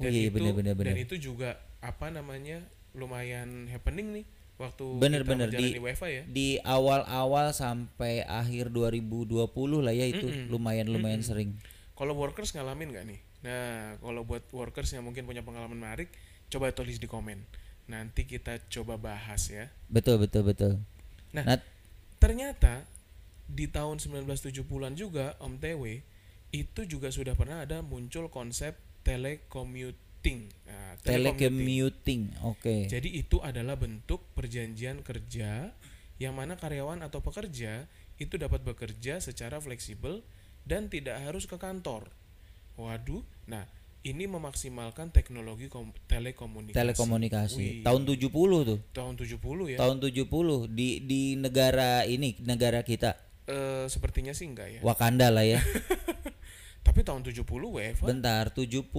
[SPEAKER 1] Dan
[SPEAKER 2] Oh, iya, iya,
[SPEAKER 1] itu
[SPEAKER 2] bener, bener,
[SPEAKER 1] dan
[SPEAKER 2] bener.
[SPEAKER 1] itu juga apa namanya? lumayan happening nih waktu
[SPEAKER 2] Bener,
[SPEAKER 1] kita
[SPEAKER 2] bener,
[SPEAKER 1] menjalani
[SPEAKER 2] di-
[SPEAKER 1] WFH ya.
[SPEAKER 2] Di awal-awal sampai akhir 2020 lah ya itu lumayan lumayan sering.
[SPEAKER 1] Kalau workers ngalamin nggak nih? Nah, kalau buat workers yang mungkin punya pengalaman menarik, coba tulis di komen. Nanti kita coba bahas ya.
[SPEAKER 2] Betul betul betul.
[SPEAKER 1] Nah.
[SPEAKER 2] Nah,
[SPEAKER 1] Ternyata di tahun 1970-an juga Om TW itu juga sudah pernah ada muncul konsep telecommuting. Nah,
[SPEAKER 2] telecommuting. Oke.
[SPEAKER 1] Jadi itu adalah bentuk perjanjian kerja yang mana karyawan atau pekerja itu dapat bekerja secara fleksibel dan tidak harus ke kantor. Waduh. Nah, ini memaksimalkan teknologi kom- telekomunikasi.
[SPEAKER 2] Telekomunikasi.
[SPEAKER 1] Wih.
[SPEAKER 2] Tahun 70 tuh.
[SPEAKER 1] tahun 70 ya.
[SPEAKER 2] Tahun 70 di di negara ini, negara kita.
[SPEAKER 1] Eh, sepertinya sih enggak ya.
[SPEAKER 2] Wakanda lah ya.
[SPEAKER 1] Tapi tahun 70 WFH
[SPEAKER 2] Bentar, 70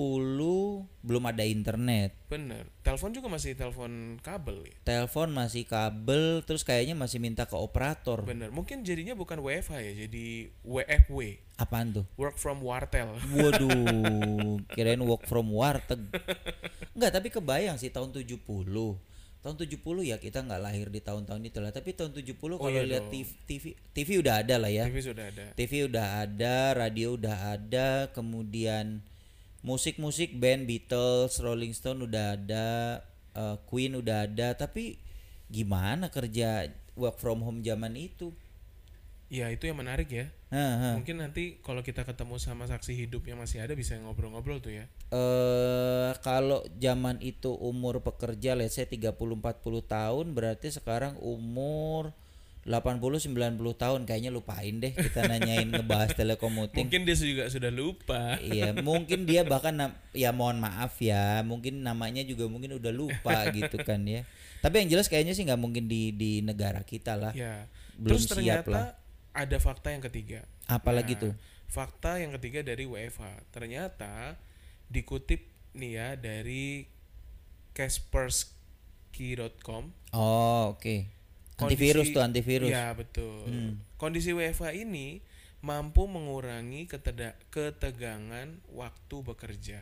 [SPEAKER 2] belum ada internet.
[SPEAKER 1] Bener. Telepon juga masih telepon kabel ya.
[SPEAKER 2] Telepon masih kabel, terus kayaknya masih minta ke operator.
[SPEAKER 1] Bener. Mungkin jadinya bukan WFH ya, jadi WFW,
[SPEAKER 2] Apaan tuh?
[SPEAKER 1] work from wartel.
[SPEAKER 2] Waduh, kirain work from warteg. Enggak, tapi kebayang sih tahun 70. Tahun 70 ya kita nggak lahir di tahun-tahun itu lah, tapi tahun 70 kalau
[SPEAKER 1] iya
[SPEAKER 2] lihat
[SPEAKER 1] dong.
[SPEAKER 2] TV, TV TV udah ada lah ya.
[SPEAKER 1] Tapi sudah ada.
[SPEAKER 2] TV udah ada, radio udah ada, kemudian musik-musik band Beatles, Rolling Stone udah ada, eh, Queen udah ada, tapi gimana kerja work from home zaman itu?
[SPEAKER 1] Ya itu yang menarik ya.
[SPEAKER 2] Heeh.
[SPEAKER 1] Mungkin nanti kalau kita ketemu sama saksi hidup yang masih ada bisa ngobrol-ngobrol tuh ya.
[SPEAKER 2] eh kalau zaman itu umur pekerja let's say 30 40 tahun berarti sekarang umur 80 90 tahun kayaknya lupain deh kita nanyain ngebahas telekomuting.
[SPEAKER 1] Mungkin ya. dia juga sudah lupa.
[SPEAKER 2] Iya, mungkin dia bahkan nam- ya mohon maaf ya, mungkin namanya juga mungkin udah lupa gitu kan ya. Tapi yang jelas kayaknya sih nggak mungkin di di negara kita lah.
[SPEAKER 1] Ya.
[SPEAKER 2] Iya. Belum
[SPEAKER 1] Terus
[SPEAKER 2] siap
[SPEAKER 1] ternyata
[SPEAKER 2] lah.
[SPEAKER 1] ada fakta yang ketiga.
[SPEAKER 2] Apalagi
[SPEAKER 1] Nah,
[SPEAKER 2] tuh.
[SPEAKER 1] Fakta yang ketiga dari WFH. Ternyata dikutip nih ya dari kaspersky.com
[SPEAKER 2] Oh, oke. Antivirus
[SPEAKER 1] Kondisi-
[SPEAKER 2] tuh antivirus.
[SPEAKER 1] Ya betul.
[SPEAKER 2] Hmm.
[SPEAKER 1] Kondisi WFH ini mampu mengurangi keteda- ketegangan waktu bekerja.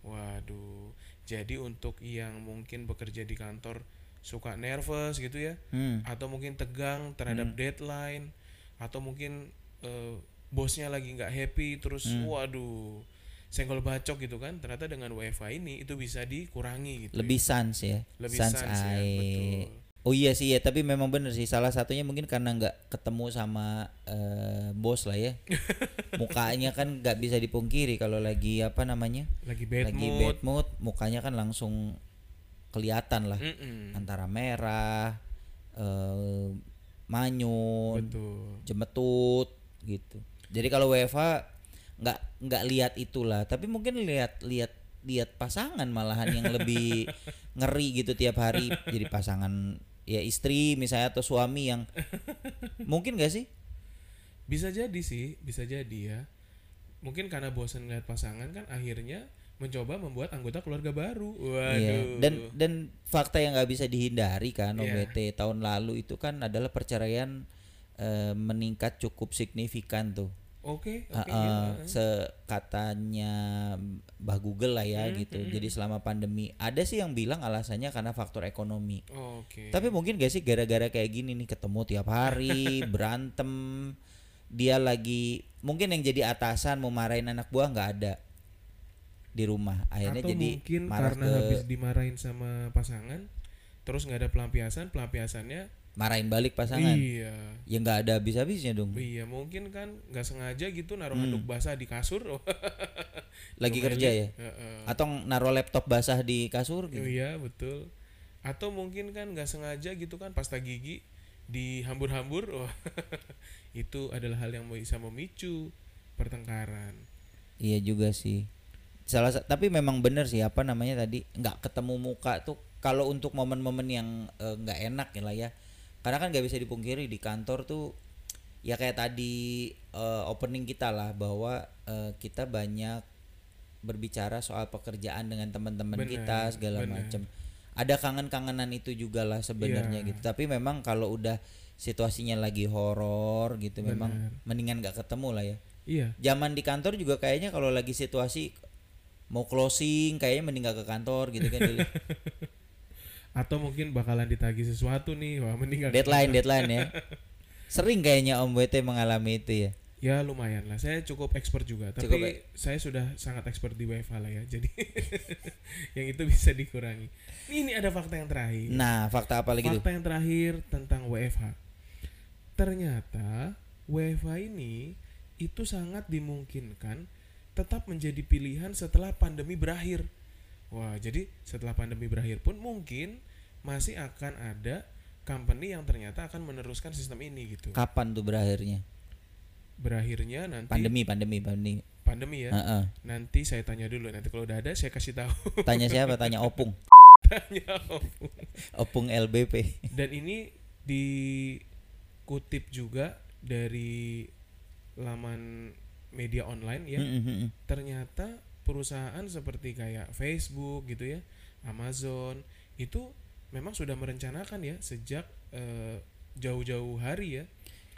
[SPEAKER 1] Waduh. Jadi untuk yang mungkin bekerja di kantor suka nervous gitu ya,
[SPEAKER 2] Hmm.
[SPEAKER 1] atau mungkin tegang terhadap deadline, atau mungkin eh, bosnya lagi nggak happy, terus
[SPEAKER 2] Hmm.
[SPEAKER 1] waduh senggol bacok gitu kan. Ternyata dengan WFH ini itu bisa dikurangi gitu.
[SPEAKER 2] Lebih sans ya.
[SPEAKER 1] Lebih
[SPEAKER 2] sans,
[SPEAKER 1] sans ya,
[SPEAKER 2] ai.
[SPEAKER 1] betul.
[SPEAKER 2] Oh iya sih ya, tapi memang bener sih salah satunya mungkin karena nggak ketemu sama eh, bos lah ya. Mukanya kan nggak bisa dipungkiri kalau lagi apa namanya?
[SPEAKER 1] Lagi bad
[SPEAKER 2] lagi
[SPEAKER 1] mood.
[SPEAKER 2] bad mood, mukanya kan langsung kelihatan lah.
[SPEAKER 1] Mm-mm.
[SPEAKER 2] antara merah, eh, manyun,
[SPEAKER 1] Betul.
[SPEAKER 2] jemetut gitu. Jadi kalau WFA nggak nggak lihat itulah, tapi mungkin lihat lihat lihat pasangan malahan yang lebih ngeri gitu tiap hari. Jadi pasangan ya istri misalnya atau suami yang mungkin gak sih?
[SPEAKER 1] Bisa jadi sih, bisa jadi ya. Mungkin karena bosan ngeliat pasangan kan akhirnya mencoba membuat anggota keluarga baru. Waduh.
[SPEAKER 2] Iya. Dan dan fakta yang nggak bisa dihindari kan
[SPEAKER 1] Iya.
[SPEAKER 2] OBT tahun lalu itu kan adalah perceraian eh, meningkat cukup signifikan tuh.
[SPEAKER 1] Oke,
[SPEAKER 2] Uh,
[SPEAKER 1] oke. iya,
[SPEAKER 2] uh,
[SPEAKER 1] heeh.
[SPEAKER 2] sekatanya Mbah Google lah ya
[SPEAKER 1] Hmm,
[SPEAKER 2] gitu.
[SPEAKER 1] hmm,
[SPEAKER 2] Jadi selama pandemi ada sih yang bilang alasannya karena faktor ekonomi.
[SPEAKER 1] Oke.
[SPEAKER 2] Tapi mungkin gak sih gara-gara kayak gini nih ketemu tiap hari, berantem, dia lagi mungkin yang jadi atasan mau marahin anak buah nggak ada di rumah. Akhirnya
[SPEAKER 1] Atau
[SPEAKER 2] jadi
[SPEAKER 1] mungkin
[SPEAKER 2] marah
[SPEAKER 1] karena
[SPEAKER 2] ke-
[SPEAKER 1] habis dimarahin sama pasangan, terus nggak ada pelampiasan, pelampiasannya
[SPEAKER 2] marahin balik pasangan.
[SPEAKER 1] iya.
[SPEAKER 2] Ya nggak ada habis-habisnya dong.
[SPEAKER 1] Iya, mungkin kan nggak sengaja gitu naruh handuk basah di kasur.
[SPEAKER 2] Hmm. Lagi
[SPEAKER 1] Domelin.
[SPEAKER 2] kerja ya.
[SPEAKER 1] Heeh.
[SPEAKER 2] Atau naruh laptop basah di kasur gitu.
[SPEAKER 1] Iya, betul. Atau mungkin kan nggak sengaja gitu kan pasta gigi dihambur-hambur. Wah, itu adalah hal yang bisa memicu pertengkaran.
[SPEAKER 2] Iya juga sih. Salah sa- tapi memang bener sih apa namanya tadi nggak ketemu muka tuh kalau untuk momen-momen yang eh, nggak enak ya lah ya. Karena kan nggak bisa dipungkiri di kantor tuh ya kayak tadi eh, opening kita lah bahwa eh, kita banyak berbicara soal pekerjaan dengan teman-teman
[SPEAKER 1] Bener,
[SPEAKER 2] kita segala
[SPEAKER 1] bener.
[SPEAKER 2] macam. Ada kangen-kangenan itu juga lah sebenarnya
[SPEAKER 1] Iya.
[SPEAKER 2] gitu. Tapi memang kalau udah situasinya lagi horor gitu memang mendingan nggak ketemu lah ya
[SPEAKER 1] Iya.
[SPEAKER 2] zaman di kantor juga kayaknya kalau lagi situasi mau closing kayaknya mending nggak ke kantor gitu kan Dili.
[SPEAKER 1] Atau mungkin bakalan ditagi sesuatu nih. Wah, mending nggak-
[SPEAKER 2] deadline deadline ya sering kayaknya Om Wete mengalami itu ya
[SPEAKER 1] Ya lumayan lah. Saya cukup expert juga, tapi
[SPEAKER 2] Cukup, eh.
[SPEAKER 1] saya sudah sangat expert di WFH lah ya. Jadi yang itu bisa dikurangi. Ini ada fakta yang terakhir.
[SPEAKER 2] nah fakta apa lagi
[SPEAKER 1] Iya.
[SPEAKER 2] tuh
[SPEAKER 1] Fakta yang terakhir tentang WFH. Ternyata WFH ini itu sangat dimungkinkan tetap menjadi pilihan setelah pandemi berakhir. Wah, jadi setelah pandemi berakhir pun mungkin masih akan ada company yang ternyata akan meneruskan sistem ini gitu.
[SPEAKER 2] kapan tuh berakhirnya
[SPEAKER 1] Berakhirnya nanti
[SPEAKER 2] pandemi pandemi pandemi
[SPEAKER 1] pandemi ya.
[SPEAKER 2] Heeh.
[SPEAKER 1] Nanti saya tanya dulu nanti kalau udah ada saya kasih tahu.
[SPEAKER 2] tanya siapa tanya Opung
[SPEAKER 1] Tanya Om.
[SPEAKER 2] Opung LBP
[SPEAKER 1] Dan ini dikutip juga dari laman media online ya.
[SPEAKER 2] Mm, mm, mm.
[SPEAKER 1] Ternyata perusahaan seperti kayak Facebook gitu ya, Amazon itu memang sudah merencanakan ya sejak eh, jauh-jauh hari ya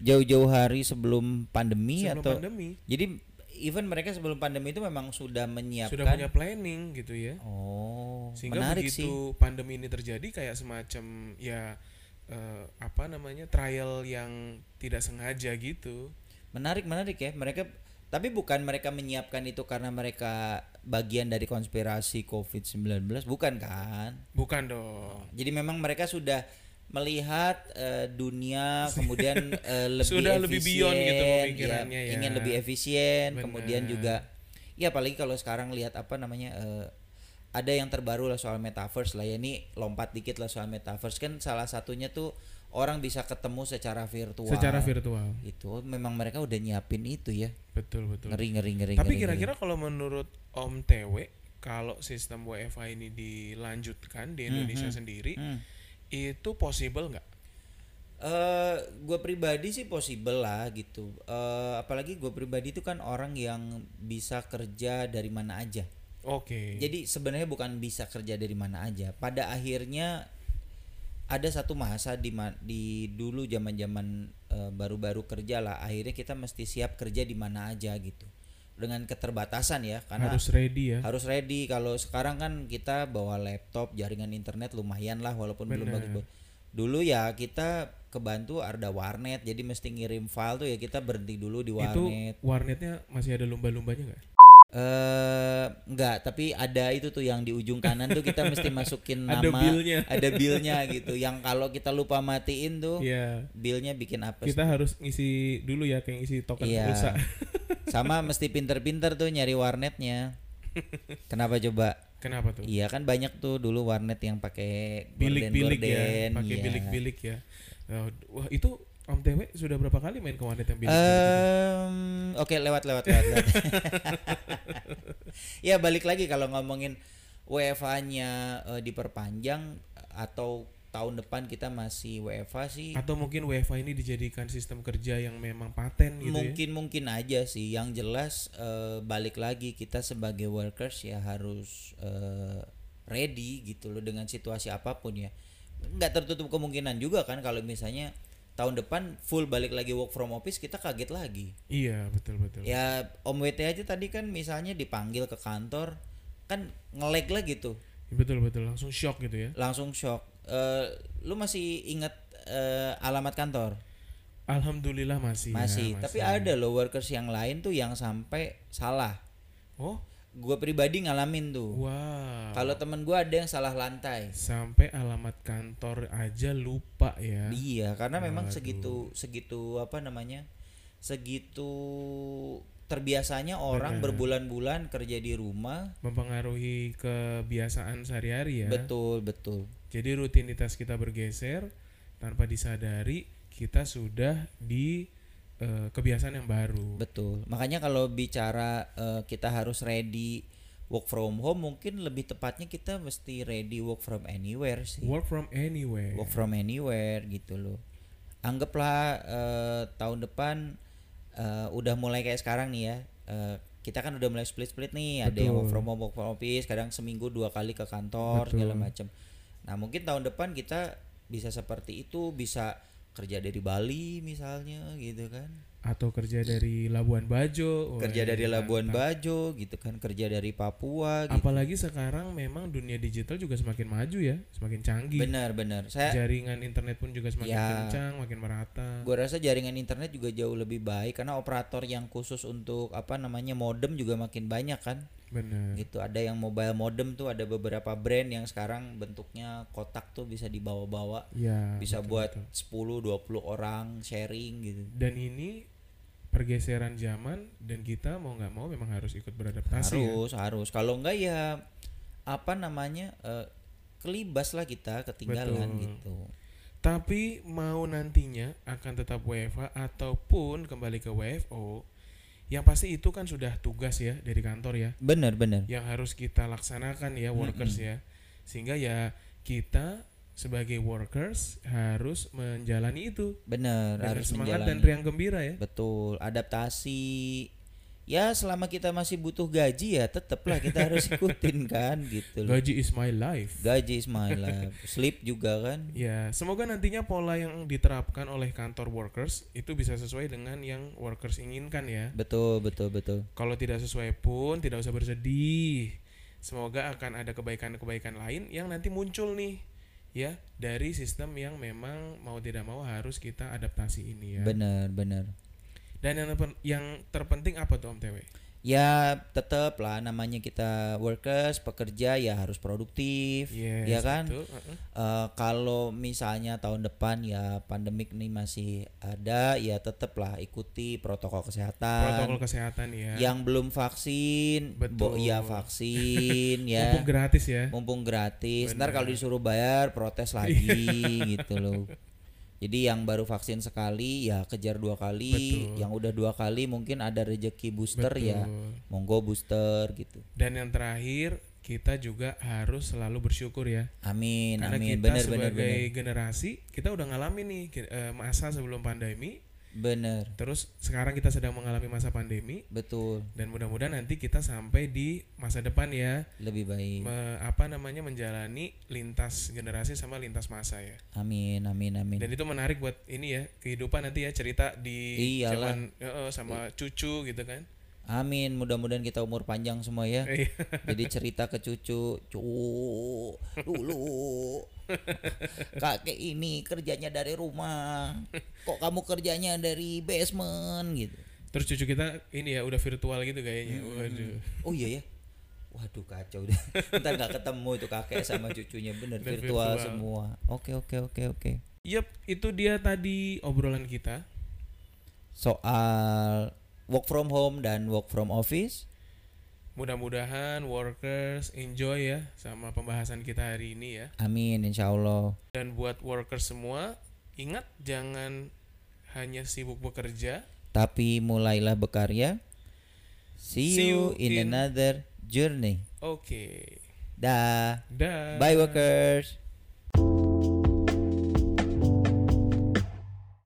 [SPEAKER 2] jauh-jauh hari sebelum pandemi
[SPEAKER 1] sebelum
[SPEAKER 2] atau
[SPEAKER 1] pandemi
[SPEAKER 2] jadi even mereka sebelum pandemi itu memang sudah menyiapkan
[SPEAKER 1] sudah punya planning gitu ya.
[SPEAKER 2] Iya kan? oh
[SPEAKER 1] sehingga
[SPEAKER 2] menarik sih
[SPEAKER 1] begitu pandemi ini terjadi kayak semacam ya eh, apa namanya trial yang tidak sengaja gitu
[SPEAKER 2] Menarik, menarik ya. Mereka tapi bukan mereka menyiapkan itu karena mereka bagian dari konspirasi COVID-19, bukan kan?
[SPEAKER 1] bukan dong
[SPEAKER 2] Jadi memang mereka sudah melihat eh, dunia kemudian eh, lebih
[SPEAKER 1] Sudah lebih beyond gitu
[SPEAKER 2] efisien,
[SPEAKER 1] pemikirannya ya.
[SPEAKER 2] ingin lebih efisien,
[SPEAKER 1] Benar.
[SPEAKER 2] kemudian juga ya apalagi kalau sekarang lihat apa namanya eh, ada yang terbaru lah soal metaverse lah ya ini lompat dikit lah soal metaverse kan salah satunya tuh orang bisa ketemu secara virtual
[SPEAKER 1] secara virtual
[SPEAKER 2] itu memang mereka udah nyiapin itu ya
[SPEAKER 1] betul betul
[SPEAKER 2] ngeri ngeri ngeri
[SPEAKER 1] tapi
[SPEAKER 2] ngeri,
[SPEAKER 1] kira-kira kalau menurut Om TW kalau sistem WFH ini dilanjutkan di Indonesia sendiri
[SPEAKER 2] ngeri. Hmm.
[SPEAKER 1] itu possible nggak
[SPEAKER 2] gue Eh, pribadi sih possible lah gitu Eh, apalagi gue pribadi itu kan orang yang bisa kerja dari mana aja
[SPEAKER 1] oke
[SPEAKER 2] jadi sebenarnya bukan bisa kerja dari mana aja pada akhirnya ada satu masa di ma- di dulu zaman zaman baru-baru kerja lah akhirnya kita mesti siap kerja di mana aja gitu dengan keterbatasan ya karena
[SPEAKER 1] harus ready ya
[SPEAKER 2] harus ready kalau sekarang kan kita bawa laptop jaringan internet lumayan lah walaupun belum
[SPEAKER 1] Bener.
[SPEAKER 2] bagus ba- dulu ya kita kebantu ada warnet jadi mesti ngirim file tuh ya kita berhenti dulu di
[SPEAKER 1] itu
[SPEAKER 2] warnet
[SPEAKER 1] warnetnya masih ada lomba-lombanya nggak
[SPEAKER 2] eh enggak tapi ada itu tuh yang di ujung kanan tuh kita mesti masukin nama
[SPEAKER 1] Ada billnya.
[SPEAKER 2] ada billnya gitu yang kalau kita lupa matiin tuh
[SPEAKER 1] Iya
[SPEAKER 2] billnya bikin apa
[SPEAKER 1] kita harus ngisi dulu ya kayak ngisi token
[SPEAKER 2] Iya.
[SPEAKER 1] pulsa
[SPEAKER 2] sama mesti pinter-pinter tuh nyari warnetnya kenapa coba
[SPEAKER 1] kenapa tuh
[SPEAKER 2] Iya kan banyak tuh dulu warnet yang pakai
[SPEAKER 1] bilik-bilik ya,
[SPEAKER 2] gorden-gorden,
[SPEAKER 1] pakai
[SPEAKER 2] iya.
[SPEAKER 1] bilik-bilik ya. Nah, Wah itu Om TW sudah berapa kali main ke warnet yang bilik?
[SPEAKER 2] Eh, Em, Oke lewat lewat lewat. lewat. ya balik lagi kalau ngomongin WFA-nya eh, diperpanjang atau tahun depan kita masih WFA sih
[SPEAKER 1] Atau mungkin WFA ini dijadikan sistem kerja yang memang paten gitu ya?
[SPEAKER 2] mungkin mungkin aja sih. Yang jelas eh, balik lagi kita sebagai workers ya harus eh, ready gitu loh dengan situasi apapun ya. Nggak tertutup kemungkinan juga kan kalau misalnya tahun depan full balik lagi work from office kita kaget lagi
[SPEAKER 1] Iya, betul betul.
[SPEAKER 2] ya Om WT aja tadi kan misalnya dipanggil ke kantor kan ngelag lah gitu
[SPEAKER 1] Betul betul langsung shock gitu ya.
[SPEAKER 2] langsung shock Eh, lu masih ingat eh, alamat kantor
[SPEAKER 1] Alhamdulillah masih. ya,
[SPEAKER 2] masih tapi ada loh workers yang lain tuh yang sampai salah
[SPEAKER 1] Oh,
[SPEAKER 2] gue pribadi ngalamin tuh
[SPEAKER 1] wow.
[SPEAKER 2] kalau temen gue ada yang salah lantai
[SPEAKER 1] Sampai alamat kantor aja lupa ya.
[SPEAKER 2] Iya, karena memang segitu segitu apa namanya? Segitu terbiasanya orang berbulan-bulan kerja di rumah.
[SPEAKER 1] Mempengaruhi kebiasaan sehari-hari ya.
[SPEAKER 2] Betul, betul.
[SPEAKER 1] Jadi rutinitas kita bergeser tanpa disadari kita sudah di eh, kebiasaan yang baru.
[SPEAKER 2] Betul. Makanya kalau bicara eh, kita harus ready work from home, mungkin lebih tepatnya kita mesti ready work from anywhere sih.
[SPEAKER 1] Work from anywhere.
[SPEAKER 2] Work from anywhere gitu loh. Anggaplah eh, tahun depan eh, udah mulai kayak sekarang nih ya. Eh, kita kan udah mulai split-split nih, ada yang work from home, work from office, kadang seminggu dua kali ke kantor segala macam. Nah, mungkin tahun depan kita bisa seperti itu, bisa kerja dari Bali misalnya gitu kan.
[SPEAKER 1] Atau kerja dari Labuan Bajo.
[SPEAKER 2] Kerja
[SPEAKER 1] Wah,
[SPEAKER 2] dari Labuan Bajo gitu kan, kerja dari Papua gitu.
[SPEAKER 1] Apalagi sekarang memang dunia digital juga semakin maju ya, semakin canggih.
[SPEAKER 2] Benar-benar. Saya
[SPEAKER 1] Jaringan internet pun juga semakin
[SPEAKER 2] Ya.
[SPEAKER 1] kencang, makin merata.
[SPEAKER 2] Gua rasa jaringan internet juga jauh lebih baik karena operator yang khusus untuk apa namanya modem juga makin banyak kan.
[SPEAKER 1] Bener.
[SPEAKER 2] Gitu ada yang mobile modem tuh ada beberapa brand yang sekarang bentuknya kotak tuh bisa dibawa-bawa,
[SPEAKER 1] Ya.
[SPEAKER 2] bisa
[SPEAKER 1] betul,
[SPEAKER 2] buat
[SPEAKER 1] betul.
[SPEAKER 2] 10 20 orang sharing gitu.
[SPEAKER 1] Dan ini pergeseran zaman dan kita mau nggak mau memang harus ikut beradaptasi. ya.
[SPEAKER 2] harus, harus. Kalau enggak ya apa namanya eh, kelibas lah kita ketinggalan
[SPEAKER 1] Betul.
[SPEAKER 2] gitu.
[SPEAKER 1] Tapi mau nantinya akan tetap WFH ataupun kembali ke WFO, yang pasti itu kan sudah tugas ya dari kantor ya,
[SPEAKER 2] Bener bener.
[SPEAKER 1] yang harus kita laksanakan ya workers ya. Sehingga ya kita sebagai workers harus menjalani itu
[SPEAKER 2] Bener
[SPEAKER 1] dengan
[SPEAKER 2] harus
[SPEAKER 1] semangat dan
[SPEAKER 2] menjalani.
[SPEAKER 1] riang gembira ya.
[SPEAKER 2] Betul, adaptasi. Ya selama kita masih butuh gaji ya tetaplah kita harus ikutin kan gitu loh.
[SPEAKER 1] Gaji is my life.
[SPEAKER 2] Gaji is my life. Sleep juga kan.
[SPEAKER 1] Ya, semoga nantinya pola yang diterapkan oleh kantor workers itu bisa sesuai dengan yang workers inginkan ya.
[SPEAKER 2] Betul, betul, betul.
[SPEAKER 1] Kalau tidak sesuai pun tidak usah bersedih. Semoga akan ada kebaikan-kebaikan lain yang nanti muncul nih ya dari sistem yang memang mau tidak mau harus kita adaptasi ini ya.
[SPEAKER 2] Bener, bener.
[SPEAKER 1] Dan yang terpen- yang terpenting apa tuh Om TW?
[SPEAKER 2] Ya tetap lah namanya kita workers, pekerja ya harus produktif.
[SPEAKER 1] Yes, gitu.
[SPEAKER 2] ya kan?
[SPEAKER 1] betul. Heeh.
[SPEAKER 2] Eh, kalau misalnya tahun depan ya pandemik nih masih ada ya tetaplah ikuti protokol kesehatan.
[SPEAKER 1] Protokol kesehatan ya.
[SPEAKER 2] yang belum vaksin, bo-
[SPEAKER 1] Betul.
[SPEAKER 2] ya vaksin ya.
[SPEAKER 1] Mumpung gratis ya.
[SPEAKER 2] mumpung gratis ntar kalau disuruh bayar protes lagi
[SPEAKER 1] Iya.
[SPEAKER 2] gitu loh jadi yang baru vaksin sekali ya kejar dua kali yang udah dua kali mungkin ada rejeki booster ya
[SPEAKER 1] Betul.
[SPEAKER 2] monggo booster gitu
[SPEAKER 1] Dan yang terakhir kita juga harus selalu bersyukur ya.
[SPEAKER 2] amin
[SPEAKER 1] Karena
[SPEAKER 2] amin
[SPEAKER 1] kita
[SPEAKER 2] bener bener
[SPEAKER 1] sebagai
[SPEAKER 2] bener
[SPEAKER 1] generasi kita udah ngalamin nih ki- eh, masa sebelum pandemi,
[SPEAKER 2] bener
[SPEAKER 1] terus sekarang kita sedang mengalami masa pandemi
[SPEAKER 2] betul
[SPEAKER 1] dan mudah-mudahan nanti kita sampai di masa depan ya
[SPEAKER 2] lebih baik
[SPEAKER 1] me- apa namanya menjalani lintas generasi sama lintas masa ya.
[SPEAKER 2] amin amin amin
[SPEAKER 1] Dan itu menarik buat ini ya kehidupan nanti ya cerita di
[SPEAKER 2] Iyalah.
[SPEAKER 1] zaman eh, eh, sama cucu gitu kan.
[SPEAKER 2] amin mudah-mudahan kita umur panjang semua ya
[SPEAKER 1] Iya.
[SPEAKER 2] Jadi cerita ke cucu, cu, dulu kakek ini kerjanya dari rumah, kok kamu kerjanya dari basement gitu.
[SPEAKER 1] Terus cucu kita ini ya udah virtual gitu kayaknya. Waduh.
[SPEAKER 2] Oh iya ya, waduh kacau deh. Ntar nggak ketemu itu kakek sama cucunya bener
[SPEAKER 1] Dan
[SPEAKER 2] virtual,
[SPEAKER 1] virtual.
[SPEAKER 2] semua. Oke oke oke oke.
[SPEAKER 1] Yep, itu dia tadi obrolan kita.
[SPEAKER 2] Soal work from home dan work from office,
[SPEAKER 1] Mudah-mudahan workers enjoy ya sama pembahasan kita hari ini ya.
[SPEAKER 2] amin insya Allah.
[SPEAKER 1] Dan buat workers semua, ingat jangan hanya sibuk bekerja.
[SPEAKER 2] Tapi mulailah berkarya. See,
[SPEAKER 1] See you
[SPEAKER 2] you in,
[SPEAKER 1] in-
[SPEAKER 2] another journey.
[SPEAKER 1] Oke.
[SPEAKER 2] Dah.
[SPEAKER 1] Dah.
[SPEAKER 2] Bye workers.